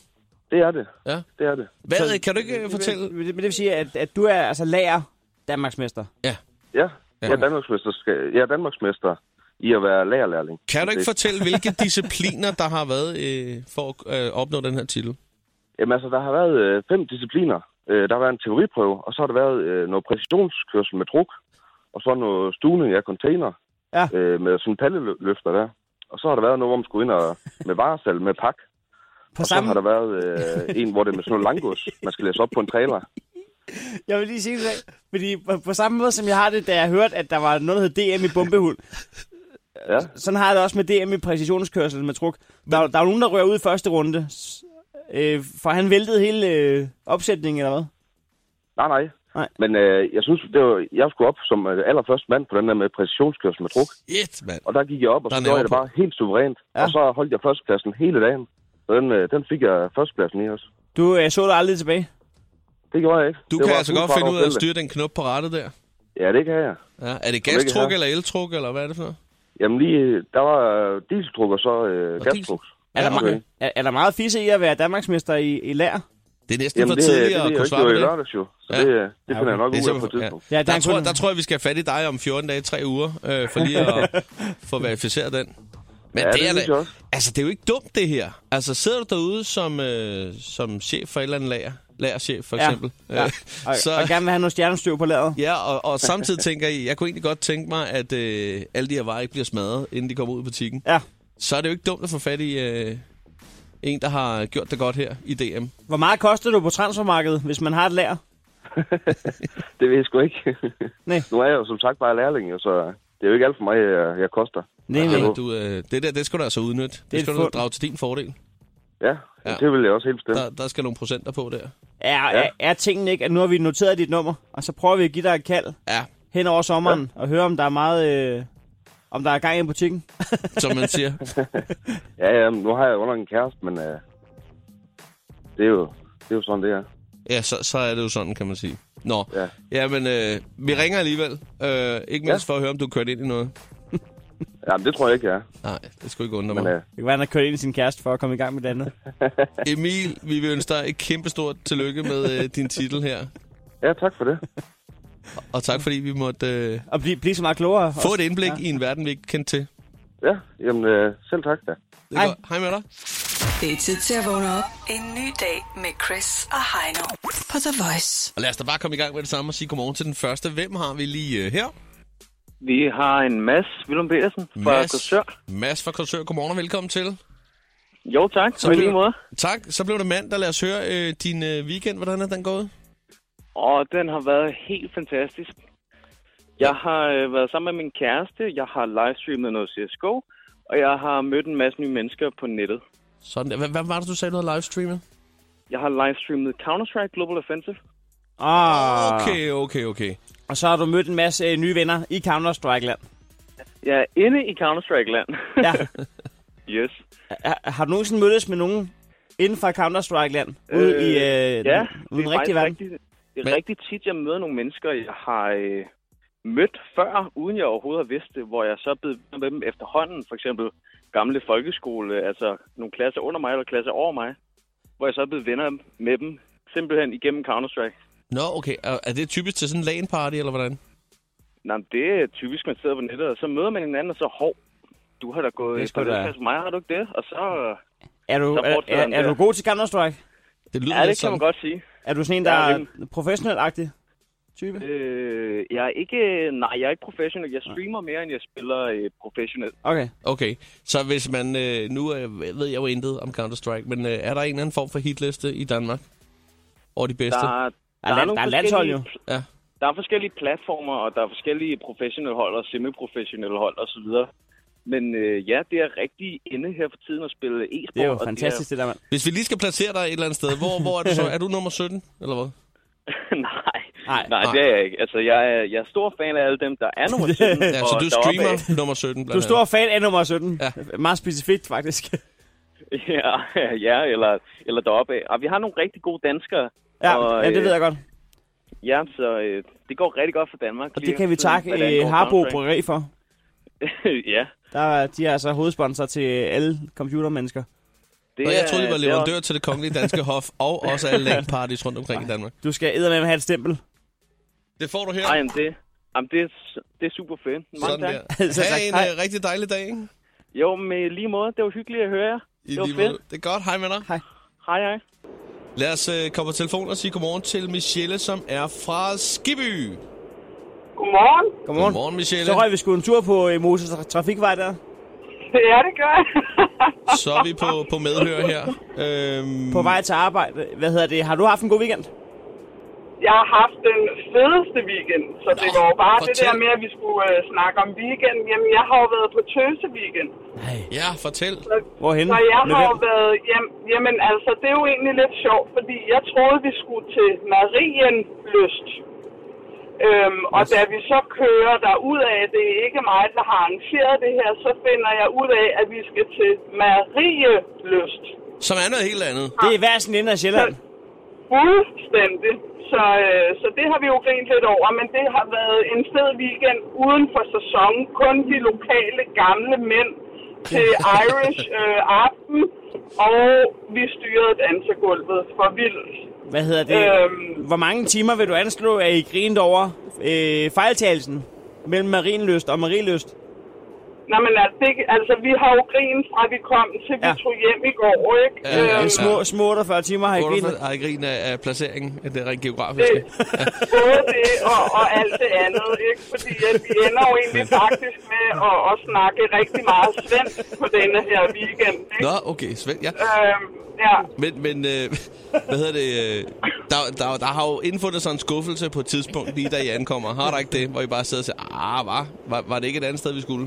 H: det er det.
B: Ja.
H: Det er det.
B: Hvad, så, kan du ikke øh, fortælle?
C: Men det, men det vil sige, at, at du er altså lager Danmarksmester.
H: Ja,
B: Ja.
H: jeg er Danmarksmester, jeg er Danmarksmester i at være lagerlærling.
B: Kan du ikke
H: Det-
B: fortælle, hvilke discipliner, der har været øh, for at øh, opnå den her titel?
H: Jamen altså, der har været øh, fem discipliner. Øh, der har været en teoriprøve, og så har der været øh, noget præcisionskørsel med truk, og så noget stuvning af container
C: Ja.
H: øh, med sådan en palleløfter der. Og så har der været noget, hvor man skulle ind og, med varesal med pak.
C: På
H: Så har
C: samme...
H: der været øh, en, hvor det er med sådan noget langgods, man skal læse op på en trailer.
C: Jeg vil lige sige det, fordi på, på samme måde som jeg har det, da jeg hørte, at der var noget, der hed DM i bombehul.
H: Ja.
C: Sådan har jeg det også med DM i præcisionskørsel med truk. Der, der er nogen, der rører ud i første runde. S- Øh, for han væltede hele øh, opsætningen, eller hvad?
H: Nej, nej.
C: Nej.
H: Men øh, jeg synes, det var, jeg skulle op som øh, allerførste mand på den der med præcisionskørsel med truk.
B: Et, mand.
H: Og der gik jeg op, og
B: Der er
H: så gjorde jeg
B: nerver
H: det bare helt suverænt.
C: Ja.
H: Ja. Og så holdt jeg førstepladsen hele dagen. Og den, øh, den fik jeg førstepladsen i også.
C: Du øh, så dig aldrig tilbage.
H: Det gjorde jeg ikke.
B: Du
H: det
B: kan
H: var
B: altså
H: fuld
B: godt
H: fart
B: finde
H: over
B: ud af at
H: feltet.
B: styre den knop på rattet der.
H: Ja, det kan jeg.
B: Ja. Er det
H: ikke
B: gastruk
H: her.
B: eller eltruk, eller hvad er det for noget?
H: Jamen lige, der var øh, dieseltruk og så øh,
B: Og
H: gastruk.
C: Er, der,
H: okay.
C: okay. er, er der meget fisse i at være Danmarksmester i, i lær?
B: Det er næsten
H: Jamen,
B: for
H: det, det, ved
B: tidligt
H: jeg
B: at
H: jo
B: kunne
H: ikke,
B: svare på
H: det var i
B: det.
H: lørdags jo. Så
B: Ja.
H: det, øh, det
C: Ja,
H: finder jeg nok
B: Det er
H: ud af på et
B: simpelthen- ja.
H: tidspunkt.
C: Ja,
B: Der, tror,
C: kun-
B: der tror jeg, vi skal have fat i dig om 14 dage, 3 uger, øh, for lige at få verificeret den. Men det,
H: Ja, det
B: er
H: synes
B: da,
H: jeg også.
B: altså, det er jo ikke dumt, det her. Altså, sidder du derude som, øh, som chef for et eller andet lager, lagerchef for
C: Ja.
B: eksempel,
C: Ja.
B: øh,
C: Og, så... og
B: så,
C: gerne vil have noget stjernestøv på lageret.
B: ja, og, og samtidig tænker I, jeg kunne egentlig godt tænke mig, at øh, alle de her varer ikke bliver smadret, inden de kommer ud i butikken.
C: Ja.
B: Så er det jo ikke dumt at få fat i øh, en, der har gjort det godt her i DM.
C: Hvor meget koster du på transfermarkedet, hvis man har et lager?
H: Det ved jeg sgu ikke.
C: Nej.
H: nu er jeg jo som sagt bare lærling, jo, så det er jo ikke alt for mig, jeg, jeg koster.
C: Nej, nej.
B: Ja, du, øh, det der, det skal du altså udnytte. Det,
C: Altså, er
B: det skal
C: et
B: du
C: fund.
B: drage til din fordel.
H: Ja,
B: Ja.
H: ja. det vil jeg også helt bestemt.
B: Der, der skal nogle procenter på der.
C: Er, er, er tingene ikke, at nu har vi noteret dit nummer, og så prøver vi at give dig et kald
B: Ja,
C: hen over sommeren, ja. og høre, om der er meget... Øh, om der er gang i butikken.
B: som man siger.
H: Ja, ja, men nu har jeg jo nok en kæreste, men øh, det, er jo, det er jo sådan, det er.
B: Ja, så, så er det jo sådan, kan man sige. Nå, ja,
H: Ja.
B: men øh, vi ringer alligevel. Øh, ikke mindst ja.
H: Ja.
B: for at høre, om du er kørt ind i noget.
H: Jamen, det tror jeg ikke, jeg er.
B: Nej, det skulle ikke undre
H: Men,
B: mig.
H: øh,
C: Det kan være, han har kørt ind i sin kæreste for at komme i gang med det andet.
B: Emil, vi vil ønske dig et kæmpestort tillykke med øh, din titel her.
H: ja, tak for det.
B: Og tak, fordi vi måtte øh,
C: Og blive, blive så meget klogere.
B: få et indblik ja. i en verden, vi ikke kendte til.
H: Ja, jamen, øh, selv tak da.
B: Det er
C: Hej.
B: godt. Hej med dig.
A: Det er tid til at vågne op. En ny dag med Chris og Heino på The Voice.
B: Og lad os da bare komme i gang med det samme og sige godmorgen til den første. Hvem har vi lige øh, her?
J: Vi har en Mads Willum Petersen fra Korsør.
B: Mads fra Korsør. Godmorgen og velkommen til.
J: Jo tak,
B: Så
J: på
B: blev-
J: lige måde.
B: Tak. Så blev det mandag. Lad os høre øh, din øh, weekend. Hvordan er den gået?
J: Og den har været helt fantastisk. Jeg har øh, været sammen med min kæreste, jeg har livestreamet noget CSGO, og jeg har mødt en masse nye mennesker på nettet.
B: Sådan der. Hvad, hvad var det, du sagde, du havde livestreamet?
J: Jeg har livestreamet Counter-Strike Global Offensive.
C: Ah,
B: Okay, okay, okay.
C: Og så har du mødt en masse øh, nye venner i Counter-Strike-land.
J: Jeg er inde i Counter-Strike-land.
C: Ja.
J: yes.
C: har, har du nogensinde mødtes med nogen inden for Counter-Strike-land? Ude i øh,
J: ja,
C: den,
J: det
C: den
J: er
C: rigtige
J: faktisk
C: verden?
J: rigtig, det er
B: Men-
J: Men... rigtig tit, jeg møder nogle mennesker, jeg har øh, mødt før, uden jeg overhovedet har vidst det, hvor jeg så er blevet venner med dem efterhånden. For eksempel gamle folkeskole, altså nogle klasser under mig eller klasser over mig, hvor jeg så er blevet venner med dem simpelthen igennem Counter-Strike.
B: Nå, okay. Er er det typisk til sådan en LAN-party, eller hvordan?
J: Nå, men det er typisk, man sidder på nettet, og så møder man hinanden, og så, hov, du har da gået
C: Det
J: i
C: skal du da.
J: parallelklasse med mig, har du ikke det? Og så,
C: Er du,
J: Så
C: er,
J: fortsætter
C: er,
J: den
C: er
J: der.
C: du god til Counter-Strike?
B: Det lyder
J: ja, det
B: lidt
J: kan
B: sådan.
J: man godt sige.
C: Er du sådan en, der
J: Ja,
C: er
J: rimelig.
C: professionel-agtig type?
J: Øh, jeg er ikke, nej, jeg er ikke professionel. Jeg streamer mere, end jeg spiller øh, professionelt.
C: Okay.
B: Okay, så hvis man... Øh, nu øh, ved jeg jo intet om Counter-Strike, men øh, er der en eller anden form for hitliste i Danmark? Over de bedste?
J: Der, er-
C: Der er, land, der er landshold jo.
J: forskellige-
B: Ja.
J: Der er forskellige platformer, og der er forskellige professionelle hold og semiprofessionelle hold osv. Men øh, ja, det er rigtig inde her for tiden at spille e-sport.
C: Det er jo
J: og
C: fantastisk, det der, mand.
B: Hvis vi lige skal placere dig et eller andet sted, hvor, hvor er du så? Er du nummer 17, eller hvad?
J: Er... nej,
C: Nej.
J: nej, nej, det er jeg ikke. Altså, jeg er, jeg er stor fan af alle dem, der er nummer 17.
B: Ja, så
J: og
B: du
J: deroppe
B: streamer
J: af.
B: nummer 17, blandt
C: Du er stor fan af nummer 17.
B: Ja.
C: Ja. Meget specifikt, faktisk.
J: ja, ja, eller, eller deroppe af. Og vi har nogle rigtig gode danskere.
C: Ja,
J: og,
C: ja det ved jeg godt.
J: Øh, ja, så øh, det går rigtig godt for Danmark.
C: Og
J: lige
C: det kan vi
J: for tiden,
C: takke
J: hvad det angår
C: øh, Harbo
J: Counter-Strike.
C: Bryggeri for.
J: ja,
C: Der er, de er altså hovedsponsor til alle computermennesker.
J: det
B: Nå, jeg troede, I var
J: det også-
B: leverandør til det kongelige danske hof, og også alle LAN-parties rundt omkring i Danmark.
C: Du skal eddermame have et stempel.
B: Det får du her.
J: Ej, jamen det, jamen det, er, s- det er super fedt. Mange
B: Sådan
J: tak.
B: der.
C: Så tak.
B: Ha' en
C: Hej.
B: øh, rigtig dejlig dag, ikke?
J: Jo, med lige måde. Det var hyggeligt at høre jer.
B: I
J: det var
B: lige måde.
J: fedt.
B: Det er godt. Hej med dig.
J: Hej, hej.
B: Lad os øh, komme på telefonen og sige godmorgen til Michelle, som er fra Skibby.
G: Godmorgen.
C: Godmorgen.
B: Godmorgen, Michelle.
C: Så røg vi sgu en tur på øh, Moses Tra- Trafikvej der.
G: Ja, det gør jeg.
B: Så er vi på, på medhør her. Øhm,
C: På vej til arbejde. Hvad hedder det? Har du haft en god weekend?
G: Jeg har haft den fedeste weekend, så det
B: Nå,
G: var jo bare det
B: fortæl.
G: der med, at vi skulle øh, snakke om weekend. Jamen, jeg har jo været på tøse weekend.
B: Øh, Ja, fortæl.
C: Hvorhenne?
G: Så jeg
C: Med
G: har jo
C: hvem?
G: været... Jamen, jamen, altså, det er jo egentlig lidt sjovt, fordi jeg troede, vi skulle til Marienlyst. Øhm, og da vi så kører der ud af, det er ikke mig, der har arrangeret det her, så finder jeg ud af, at vi skal til Marielyst.
B: Som er noget helt andet.
C: Det er i hver sin ende af Sjælland.
G: Fuldstændig. Så, øh, så det har vi jo grint lidt over, men det har været en fed weekend uden for sæson. Kun de lokale gamle mænd, til Irish øh, aften, og vi styrede dansegulvet for vildt.
C: Hvad hedder det? Øhm. Hvor mange timer vil du anslå, at I grinte over øh, fejltagelsen mellem Marienløst og Marieløst?
G: Nå, men altså, det, altså, vi har jo grinet fra vi kom til vi
C: Ja.
G: tog hjem i går, ikke?
B: Ja, ja,
C: Ja.
B: ja.
C: Små, små 48 timer har I
B: Hvor er
C: grinet.
B: du- har I grin af, af placeringen, af det
G: Det,
B: rent geografiske?
G: både det og, og alt det andet, ikke? Fordi at vi ender jo egentlig faktisk med at, at snakke rigtig meget svensk på denne her weekend, ikke?
B: Nå, okay, Svend, ja.
G: Øhm, ja.
B: Men, men øh, hvad hedder det? Øh, der, der, der har jo indfundet sig en skuffelse på et tidspunkt, lige da I ankommer. Har der ikke det? Hvor I bare sidder og siger, ah, var, var, var det ikke et andet sted, vi skulle?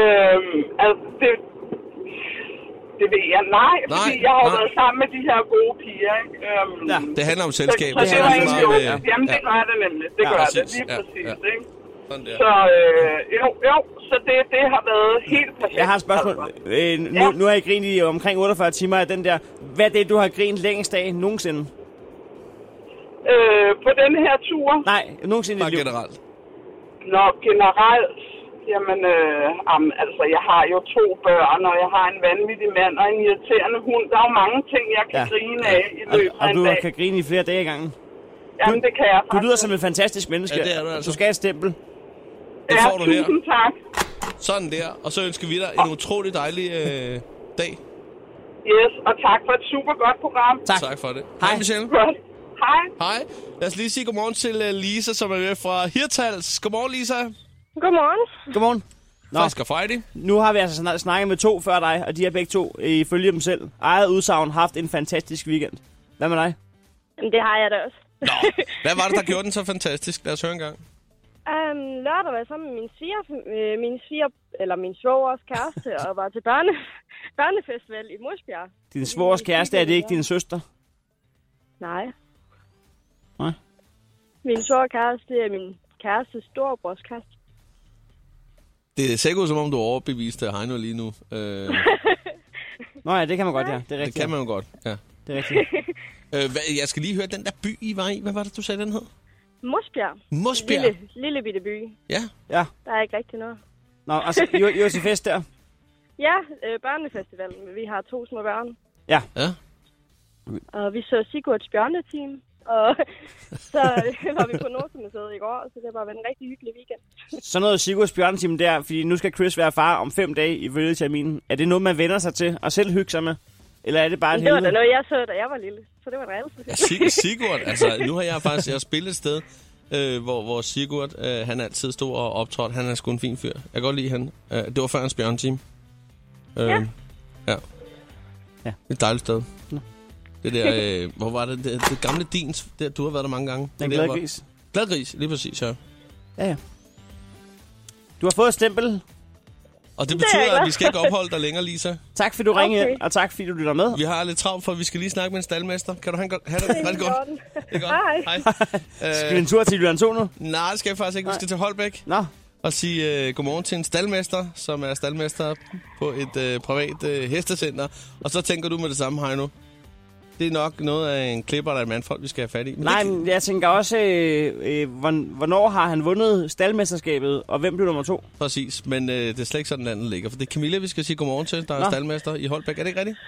G: Øhm, altså, det, det ved jeg. Nej, nej fordi
B: Nej,
G: jeg har jo
B: nej.
G: været sammen med de her gode piger, ikke? Øhm,
C: Ja.
B: Det handler om
G: så,
B: selskab.
G: så det var
B: handler
G: egentlig jo,
B: meget med-
G: jamen det gør det nemlig, det
B: Ja,
G: gør det,
B: præcis.
G: lige
B: Ja,
G: præcis,
B: ja.
G: ikke?
B: Sådan der.
G: Så øh, jo, jo, så det, det har været helt perfekt.
C: Jeg har et spørgsmål.
G: altså.
C: Øh, nu,
G: Ja.
C: nu har I grinet i omkring 48 timer af den der. Hvad er det, du har grinet længst af nogensinde?
G: Øh, på den her tur,
C: Nej, nogensinde i
B: Bare
C: dit liv.
B: generelt.
G: når generelt, jamen, øh, jamen, altså, jeg har jo to børn, og jeg har en vanvittig mand og en irriterende hund. Der er jo mange ting, jeg kan
C: Ja.
G: ja. grine af i
C: Og,
G: løbet af
C: og
G: en
C: du
G: dag.
C: kan grine i flere dage i gangen.
G: Jamen, det kan jeg
C: Du
G: faktisk.
C: lyder som et fantastisk menneske.
B: Ja, det er du altså.
C: Du skal have et stempel.
B: Det
G: ja,
B: får du her.
G: tusind tak.
B: Sådan der. Og så ønsker vi dig en utrolig dejlig øh, dag.
G: Yes, og tak for et super godt program.
C: Tak.
B: Tak for det.
C: Hej.
B: Hej, Michelle.
G: Godt. Hej.
B: Hej. Lad os lige sige godmorgen til øh, Lisa, som er med fra Hirtals. Godmorgen, Lisa.
E: Godmorgen.
C: Godmorgen. Nå,
B: Frisk og Friday.
C: nu har vi altså snak- snakket med to før dig, og de har begge to, øh, ifølge dem selv, eget udsagn, haft en fantastisk weekend. Hvad med dig?
E: Jamen, det har jeg da også.
B: Nå, hvad var det, der gjorde den så fantastisk? Lad os høre en gang.
E: Um, lørdag var jeg sammen med min sviger, øh, min sviger, eller min svogers kæreste, og var til børne, børnefestival i Morsbjerg.
C: Din svores kæreste, er det ikke din søster?
E: Nej.
C: Nej.
E: Min svoger kæreste er min kærestes storebrors kæreste.
B: Det ser ikke ud, som om du er overbevist af Heino lige nu. Øh,
C: Nå ja, det kan man godt, ja. Det er
B: det
C: rigtigt.
B: kan man jo godt, ja.
C: ja. Det er rigtigt.
B: Øh, hvad, jeg skal lige høre, den der by, I var i, hvad var det, du sagde, den hed?
E: Morsbjerg.
B: Mosbjerg?
E: Lille, lille bitte by.
B: Ja.
C: Ja.
E: Der er ikke rigtig noget.
C: Nå, og så, I, var- I var til fest der.
E: Ja, øh, børnefestivalen. Vi har to små børn.
B: ja.
E: Og vi så Sigurds bjørneteam. Og så var vi på Nordsjælland i går, så det var en rigtig hyggelig weekend.
C: Sådan noget Sigurds bjørnetime der, fordi nu skal Chris være far om fem dage i terminen. Er det noget, man vender sig til og selv hygge sig med? Eller er det bare et
E: Men det var da
C: helvede?
E: noget, jeg så, da jeg var lille. Så det var da altid.
B: Ja, Sig- Sigurd, altså nu har jeg faktisk jeg har spillet et sted, øh, hvor, hvor Sigurd, øh, han altid stod og optrådte. Han er sgu en fin fyr. Jeg kan godt lide han. Øh, det var før hans bjørnteam. Øh, ja. ja.
C: Ja.
B: Et dejligt sted. Det der, øh, hvor var det, det, det gamle dins, der, du har været der mange gange.
C: Den
B: der,
C: glade
B: hvor-
C: gris.
B: Glad gris, lige præcis, ja.
C: Ja, ja. Du har fået et stempel.
B: Og det
E: jeg
B: betyder, at
E: glad
B: vi skal ikke opholde dig længere, Lisa.
C: Tak fordi du ringede
E: Okay.
C: ind, og tak fordi du lytter med.
B: Vi har lidt travlt, for vi skal lige snakke med en staldmester. Kan du have, en go- have det rigtig godt? Det er godt.
E: Hej.
C: Skal vi
B: Øh,
C: en tur til Jylland 2 nu?
B: nej, det skal jeg faktisk ikke. Vi skal til Holbæk.
C: Nå,
B: og sige øh, godmorgen til en staldmester, som er staldmester på et øh, privat øh, hestecenter. Og så tænker du med det samme, Heino. Det er nok noget af en klipper eller en mandfolk, vi skal have fat i. Men
C: nej,
B: det,
C: men jeg tænker også, øh, øh, hvorn- hvornår har han vundet staldmesterskabet, og hvem blev nummer to?
B: præcis, men øh, det er slet ikke sådan, landet ligger. For det er Camilla, vi skal sige godmorgen til, der er
C: Nå.
B: staldmester i Holbæk. Er det ikke rigtigt?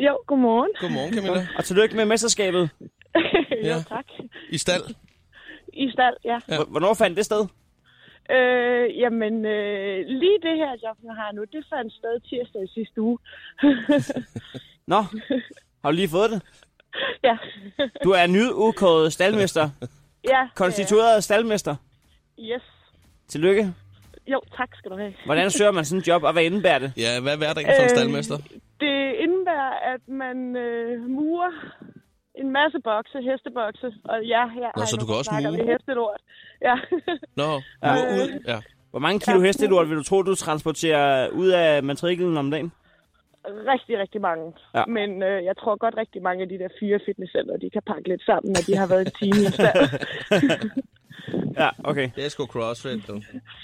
E: Jo, godmorgen.
B: Godmorgen, Camilla.
C: Og tillykke med mesterskabet.
B: Ja.
E: jo, tak.
B: I stald.
E: I stald, ja.
B: Ja.
C: Ja. Hvornår fandt det sted?
E: Øh, jamen, øh, lige det her job, jeg har nu, det fandt sted tirsdag i sidste uge.
C: Nå, har du lige fået det?
E: ja.
C: Du er nyudkåret staldmester.
E: ja.
C: Konstitueret staldmester.
E: Øh, yes.
C: Tillykke.
E: Jo, tak skal du have.
C: Hvordan søger man sådan en job, og hvad indebærer det?
B: Ja, hvad er hverdagen for en
E: Øh,
B: staldmester?
E: Det indebærer, at man øh, murer en masse bokse, hestebokse, og ja, her
B: Nå, så du kan også
E: snakker
B: mure?
E: vi hestelort. Ja.
B: Nå, ja. ud. Ja.
C: Hvor mange kilo hestelort vil du tro, du transporterer ud af matriklen om dagen?
E: rigtig, rigtig mange.
C: Ja.
E: Ja. Men øh, jeg tror godt, rigtig mange af de der fire fitnesscenter, de kan pakke lidt sammen, når de har været en time i stand.
C: Ja, okay.
B: Det er sgu crossfit, du.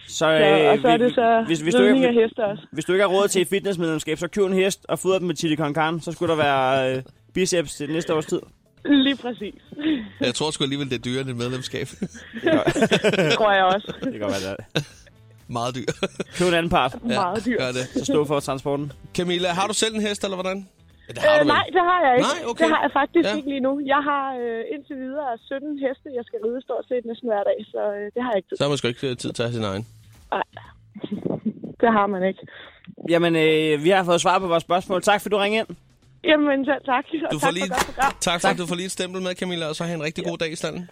C: Så,
E: Ja, og
C: øh,
E: så er
C: vi-
E: det så
C: hvis, hvis, du
E: ridning af
C: ikke,
E: heste også.
C: hvis du ikke har råd til et fitnessmedlemskab, så køb en hest og fodre dem med chili con carne. Så skulle der være øh, biceps til næste års tid.
E: Lige præcis.
B: Jeg tror sgu alligevel, det er dyrere end et medlemskab.
E: Det tror jeg også.
C: Det kan godt være det.
B: Meget dyr.
C: Køb en anden part.
E: Meget dyr.
B: Gør det.
C: Så stå for transporten.
B: Camilla, har du selv en hest, eller hvordan? Ja, det har
E: Øh,
B: du vel.
E: nej, det har jeg ikke.
B: Nej, okay.
E: Det har jeg faktisk
B: Ja.
E: ja. ikke lige nu. Jeg har øh, indtil videre 17 heste, jeg skal ride stort set næsten hver dag, så øh, det har jeg ikke tid.
B: Så har man sgu ikke øh, tid til at have sin egen.
E: Nej. det har man ikke.
C: Jamen, øh, vi har fået svar på vores spørgsmål. Tak, fordi du ringede ind.
E: Jamen, selv tak. Og
B: Du får
E: tak
B: lige-
E: for godt program.
B: Tak for, at du får lige et stempel med, Camilla, og så have en rigtig god dag i standen.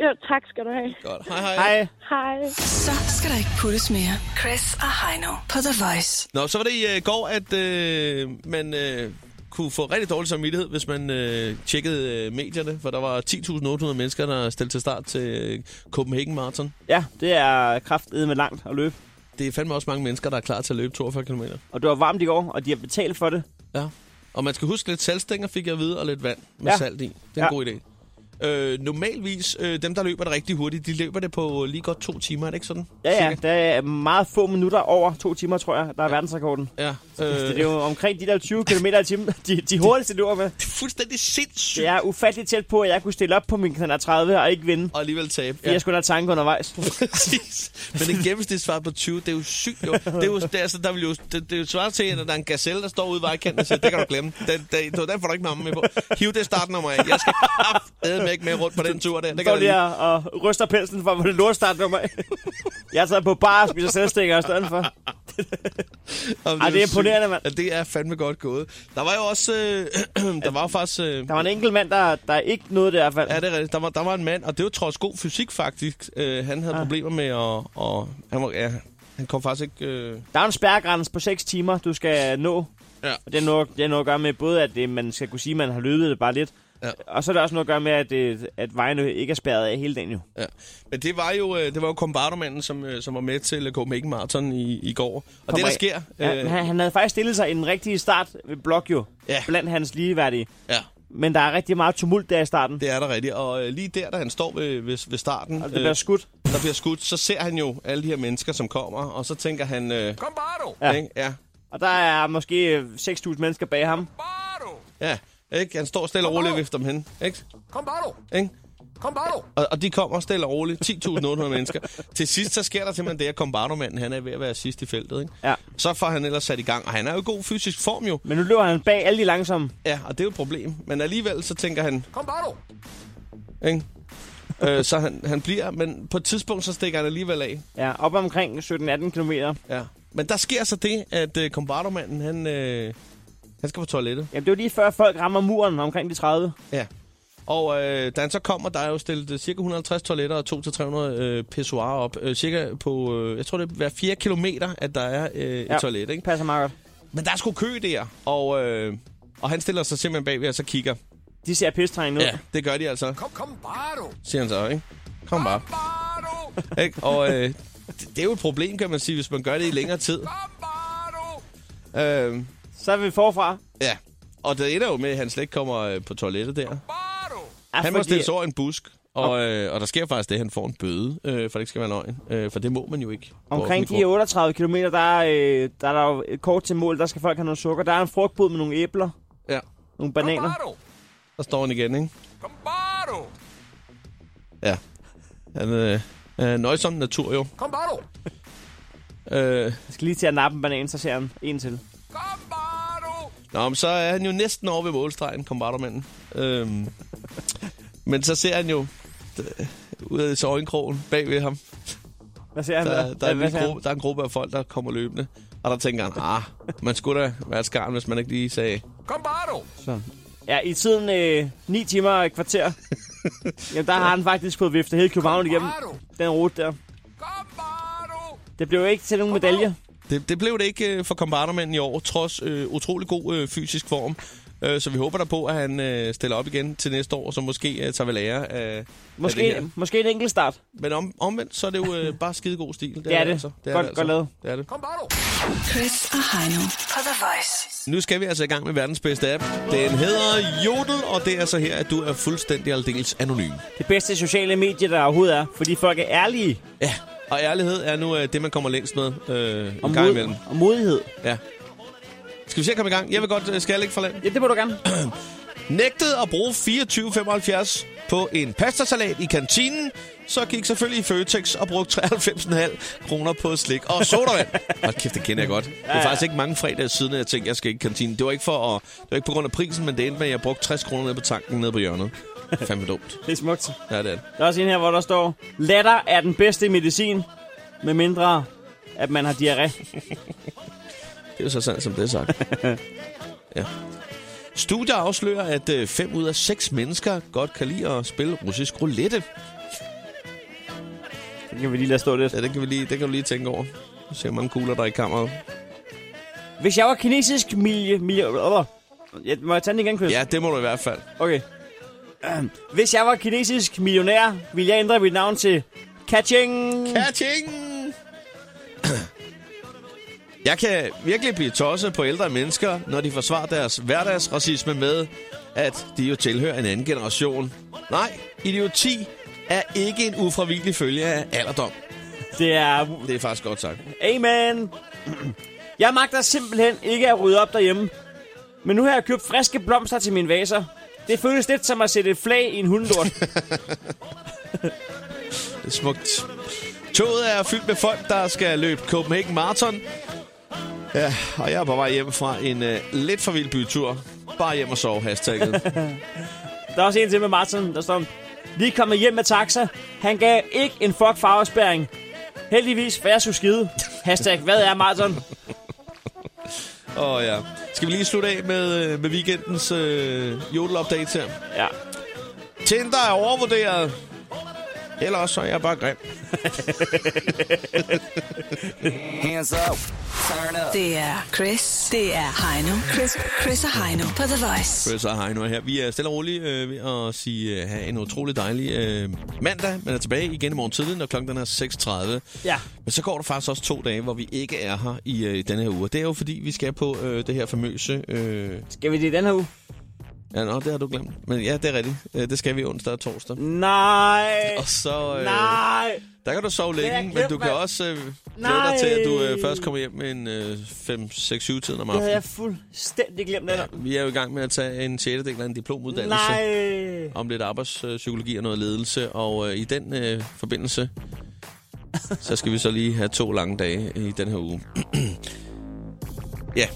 E: Ja, tak skal du have.
B: Godt. Hej, hej.
C: Hej.
E: Hej.
A: Så skal der ikke puttes mere. Chris og Heino på The Voice.
B: Nå, så var det i øh, går, at øh, man øh, kunne få rigtig dårlig samvittighed, hvis man øh, tjekkede øh, medierne, for der var 10.800 mennesker, der stillede til start til øh, Copenhagen Marathon.
C: Ja, det er kraftedet med langt at løbe.
B: Det er fandme også mange mennesker, der er klar til at løbe 42 km.
C: Og det var varmt i går, og de har betalt for det.
B: Ja. Og man skal huske lidt saltstænger, fik jeg at vide, og lidt vand med ja.
C: Ja.
B: salt i. Det er en ja.
C: Ja.
B: god idé. Øh, normalvis, øh, dem der løber det rigtig hurtigt, de løber det på lige godt to timer, er det ikke sådan?
C: Ja, ja, der er meget få minutter over to timer, tror jeg, der er verdensrekorden.
B: Ja.
C: Øh.
B: Øh,
C: Det er jo omkring de der 20 km i timen, de, de hurtigste løber med.
B: fuldstændig sindssygt.
C: Det er ufattelig tæt på, at jeg kunne stille op på min knaller 30 og ikke vinde.
B: Og alligevel tabe.
C: Ja. Jeg skulle have tanke undervejs.
B: Præcis. Men en gennemsnitsfart på 20, det er jo sygt jo. Det er jo, det er, altså, der vil jo, det, det er jo svaret til, at der er en gazelle, der står ude i vejkanten og siger, det kan du glemme. Den, den, den får du ikke mamma med på. Hiv det startnummer af. Jeg skal kraftedeme ikke med rundt på den tur der. Det
C: Står
B: kan
C: lige
B: jeg
C: og, og ryster pelsen for, hvor det lortstart nummer af. Jeg tager på bar og spiser selvstænger i stedet for.
B: Om,
C: Ej, det er
B: jo sygt.
C: imponerende, mand.
B: Ja, det er fandme godt gået. Der var jo også... Øh, der var jo faktisk... Øh,
C: Der var en enkelt mand, der, der ikke nåede det i hvert fald.
B: Ja, det er rigtigt. Der var, der var en mand, og det var trods god fysik faktisk. Øh, han
C: Ah.
B: havde problemer med at... Og, han, var, ja, han kom faktisk ikke... Øh,
C: Der er en spærregrænse på 6 timer, du skal nå.
B: Ja.
C: Og det er, noget, det er noget at gøre med både, at det, man skal kunne sige, at man har løbet det bare lidt.
B: Ja.
C: Og så er der også noget at gøre med, at, det, at vejen jo ikke er spærret af hele dagen jo.
B: Ja. Men det var jo, øh, det var jo kombardomanden, som, øh, som var med til øh, Copenhagen Marathon i, i går. Og det, der
C: af.
B: sker... øh,
C: Ja, men han, han havde faktisk stillet sig i den rigtige start ved blok jo.
B: Ja.
C: Blandt hans ligeværdige.
B: ja,
C: Men der er rigtig meget tumult der i starten.
B: det er der rigtigt. Og øh, lige der, da han står ved, ved, ved starten, øh,
C: Og Altså, det bliver skudt.
B: der bliver skudt, så ser han jo alle de her mennesker, som kommer, og så tænker han... Øh, Kom bare
C: Ja.
B: du! Ikke? Ja.
C: Og der er måske øh, 6.000 mennesker bag ham.
B: Ja, ikke? Han står stille og roligt og vifter dem hen, ikke? Kom bare Ikke? Kom bare Og, og de kommer stille og roligt, 10.800 mennesker. Til sidst, så sker der simpelthen det, at kombardomanden, han er ved at være sidst i feltet, ikke?
C: Ja.
B: Så får han ellers sat i gang, og han er jo i god fysisk form jo.
C: Men nu løber han bag alle de langsomme.
B: Ja, og det er jo et problem. Men alligevel så tænker han... Kom bare du! Ikke? øh, så han, han bliver, men på et tidspunkt så stikker han alligevel af.
C: Ja, op omkring 17-18 km.
B: Ja. Men der sker så det, at øh, kombardomanden, han, øh, han skal på toilettet.
C: Jamen, det var lige før folk rammer muren omkring de 30.
B: Ja. Og øh, da han så kommer, der er jo stillet øh, cirka 150 toiletter og 200-300 øh, pissoirer op. Øh, cirka på, øh, jeg tror det er hver 4 kilometer, at der er øh, ja.
C: Ja.
B: et toilet. Ikke?
C: Passer meget godt.
B: Men der er sgu kø der, og, øh, og han stiller sig simpelthen bagved og så kigger.
C: De ser pistrængende ud.
B: Ja, det gør de altså. Kom, kom bare du. Siger han så, ikke? Kom bare. Kom bare du. Ikke? Og øh, det, det er jo et problem, kan man sige, hvis man gør det i længere tid. Kom bare du. Øh,
C: Så er vi forfra.
B: ja. Og det ender jo med, at han slet ikke kommer øh, på toilettet der.
C: Ja,
B: Han må stille sig over i en busk. Og, øh, og der sker faktisk det, at han får en bøde, øh, for det ikke skal være løgn. Øh, for det må man jo ikke. på
C: Omkring
B: offentlig
C: de
B: grund.
C: 38 km, der er, øh, der er der jo et kort til mål, der skal folk have noget sukker. Der er en frugtbod med nogle æbler,
B: Ja,
C: nogle bananer.
B: der står han igen, ikke? Kom bare Ja. Han øh, er en nøjsom natur, jo. Kom bare øh,
C: Jeg skal lige til at nappe en banan, så ser han en til.
B: Nå, men så er han jo næsten over ved målstregen, kombardermanden. Øhm, men så ser han jo øh, ud af så øjenkrogen bag ved ham.
C: Hvad ser han
B: Der, der, er en
C: Hvad
B: lille
C: ser han?
B: gruppe, der er en gruppe af folk, der kommer løbende. Og der tænker han, ah, man skulle da være et skarn, hvis man ikke lige sagde...
C: Ja, i tiden øh, 9 timer og et kvarter, jamen der har han faktisk fået viftet hele København igennem den rute der. Det blev jo ikke til nogen medalje.
B: Det, det blev det ikke øh, for kombardermanden i år, trods øh, utrolig god øh, fysisk form. Øh, så vi håber der på, at han øh, stiller op igen til næste år, så måske øh, tager vi lære af, af det her.
C: Måske, måske en enkelt start.
B: Men om, omvendt, så er det jo øh, bare skide god stil.
C: Det er det. Godt- godt lavet.
B: altså. Det er det.
A: Chris og Heino på The Voice.
B: Nu skal vi altså i gang med verdens bedste app. Den hedder Jodel, og det er så her, at du er fuldstændig aldeles anonym.
C: Det bedste sociale medie, der overhovedet er, fordi folk er ærlige
B: Ja, og ærlighed er nu øh, det, man kommer længst med øh,
C: og,
B: en gang
C: mod,
B: imellem.
C: og modighed.
B: Ja. Skal vi se at komme i gang? Jeg vil godt, øh, skal jeg lægge for land?
C: Ja, det må du gerne.
B: Nægtet at bruge 2475 på en pastasalat i kantinen, så gik selvfølgelig i Føtex og brugte 93,5 kroner på slik og sodavand. Hold kæft, det kender jeg godt. Det er faktisk ikke mange fredage siden, at jeg tænkte, at jeg skal ikke i kantinen. Det var ikke, for at, det var ikke på grund af prisen, men det endte med, at jeg brugte 60 kroner nede på tanken nede på hjørnet. Fandme dumt.
C: Det er smukt.
B: Ja, det er det.
C: Der er også en her, hvor der står, latter er den bedste medicin, med mindre at man har diarré.
B: Det er jo så sandt, som det er sagt. ja. Studier afslører, at 5 ud af 6 mennesker godt kan lide at spille russisk roulette.
C: Det kan vi lige lade stå lidt.
B: Ja, det kan, vi lige, det kan du lige tænke over. Nu ser hvor mange kugler, der er i kammeret.
C: Hvis jeg var kinesisk miljø... miljø ja, må jeg tage den igen, Chris?
B: Ja, det må du i hvert fald.
C: Okay. Øhm, Hvis jeg var kinesisk millionær, ville jeg ændre mit navn til Kaching.
B: Kaching! Jeg kan virkelig blive tosset på ældre mennesker, når de forsvarer deres hverdagsracisme med, at de jo tilhører en anden generation. Nej, idioti er ikke en ufravigelig følge af alderdom.
C: Det er...
B: Det er faktisk godt sagt.
C: Amen. Jeg magter simpelthen ikke at rydde op derhjemme. Men nu har jeg købt friske blomster til mine vaser. Det føles lidt som at sætte et flag i en hundelort.
B: Det er smukt. Toget er fyldt med folk, der skal løbe Copenhagen Marathon. Ja, og jeg er på vej hjem fra en øh, lidt for vild bytur. Bare hjem og sove, hashtagget.
C: Der er også en til med Martin, der står... Lige kommet hjem med taxa. Han gav ikke en fuck farvespæring. Heldigvis, for jeg skulle skide. Hashtag, hvad er Martin?
B: Åh oh, ja. Skal vi lige slutte af med, øh, med weekendens øh, jodel-update her?
C: Ja.
B: Tinder er overvurderet. Eller også så er jeg bare grim.
I: Hands up. Turn up.
A: Det er Chris. Det er Heino. Chris, Chris og Heino på The Voice.
B: Chris og Heino er her. Vi er stille og roligt øh, ved at sige, øh, have en utrolig dejlig øh, mandag. Man er tilbage igen i morgen tidlig, når klokken den er 6.30.
C: Ja.
B: Men så går der faktisk også to dage, hvor vi ikke er her i øh, i denne her uge. Det er jo fordi, vi skal på øh, det her famøse... Øh...
C: Skal vi det i den her uge?
B: Ja, nå, det har du glemt. Men ja, det er rigtigt. Øh, det skal vi onsdag og torsdag.
C: Nej.
B: Og så... Øh,
C: Nej.
B: Der kan du sove længe,
C: jeg
B: men
C: glemt,
B: du kan
C: mand.
B: også øh, glæde dig til, at du øh,
C: Nej.
B: først kommer hjem med en øh, 5-6-7-tiden om
C: Det havde jeg
B: aftenen.
C: fuldstændig glemt, ja.
B: Vi er jo i gang med at tage en 6. del af en diplomuddannelse.
C: Nej.
B: om lidt arbejdspsykologi og noget ledelse, og øh, i den øh, forbindelse, så skal vi så lige have to lange dage i den her uge. ja.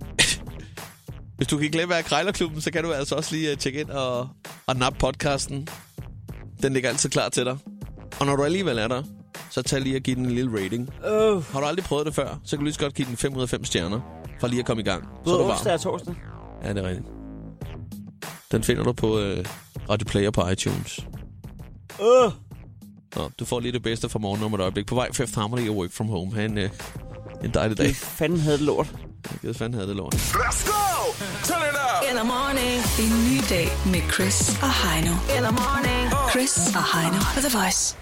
B: Hvis du kan glemme af Krejlerklubben, så kan du altså også lige øh, tjekke ind og, og nappe podcasten. Den ligger altid klar til dig. Og når du alligevel er der, så tag lige og giv den en lille rating.
C: Øh,
B: Har du aldrig prøvet det før, så kan du lige så godt give den 5 ud af 5 stjerner, for lige at komme i gang. Så er
C: både
B: du varm.
C: onsdag og torsdag.
B: Ja, det er rigtigt. Den finder du på øh, Radio Player på iTunes.
C: Øh,
B: Nå, du får lige det bedste fra morgen om et øjeblik. På vej Fifth Harmony og Work From Home. Ha' en, øh, en dejlig dag.
C: hvad fanden havde det lort?
B: Jeg ved fanden havde det lort.
I: Let's go. Turn it up.
A: In the morning.
I: Oh.
A: En ny dag med Chris og Heino. In the morning. Chris og Heino på The Voice.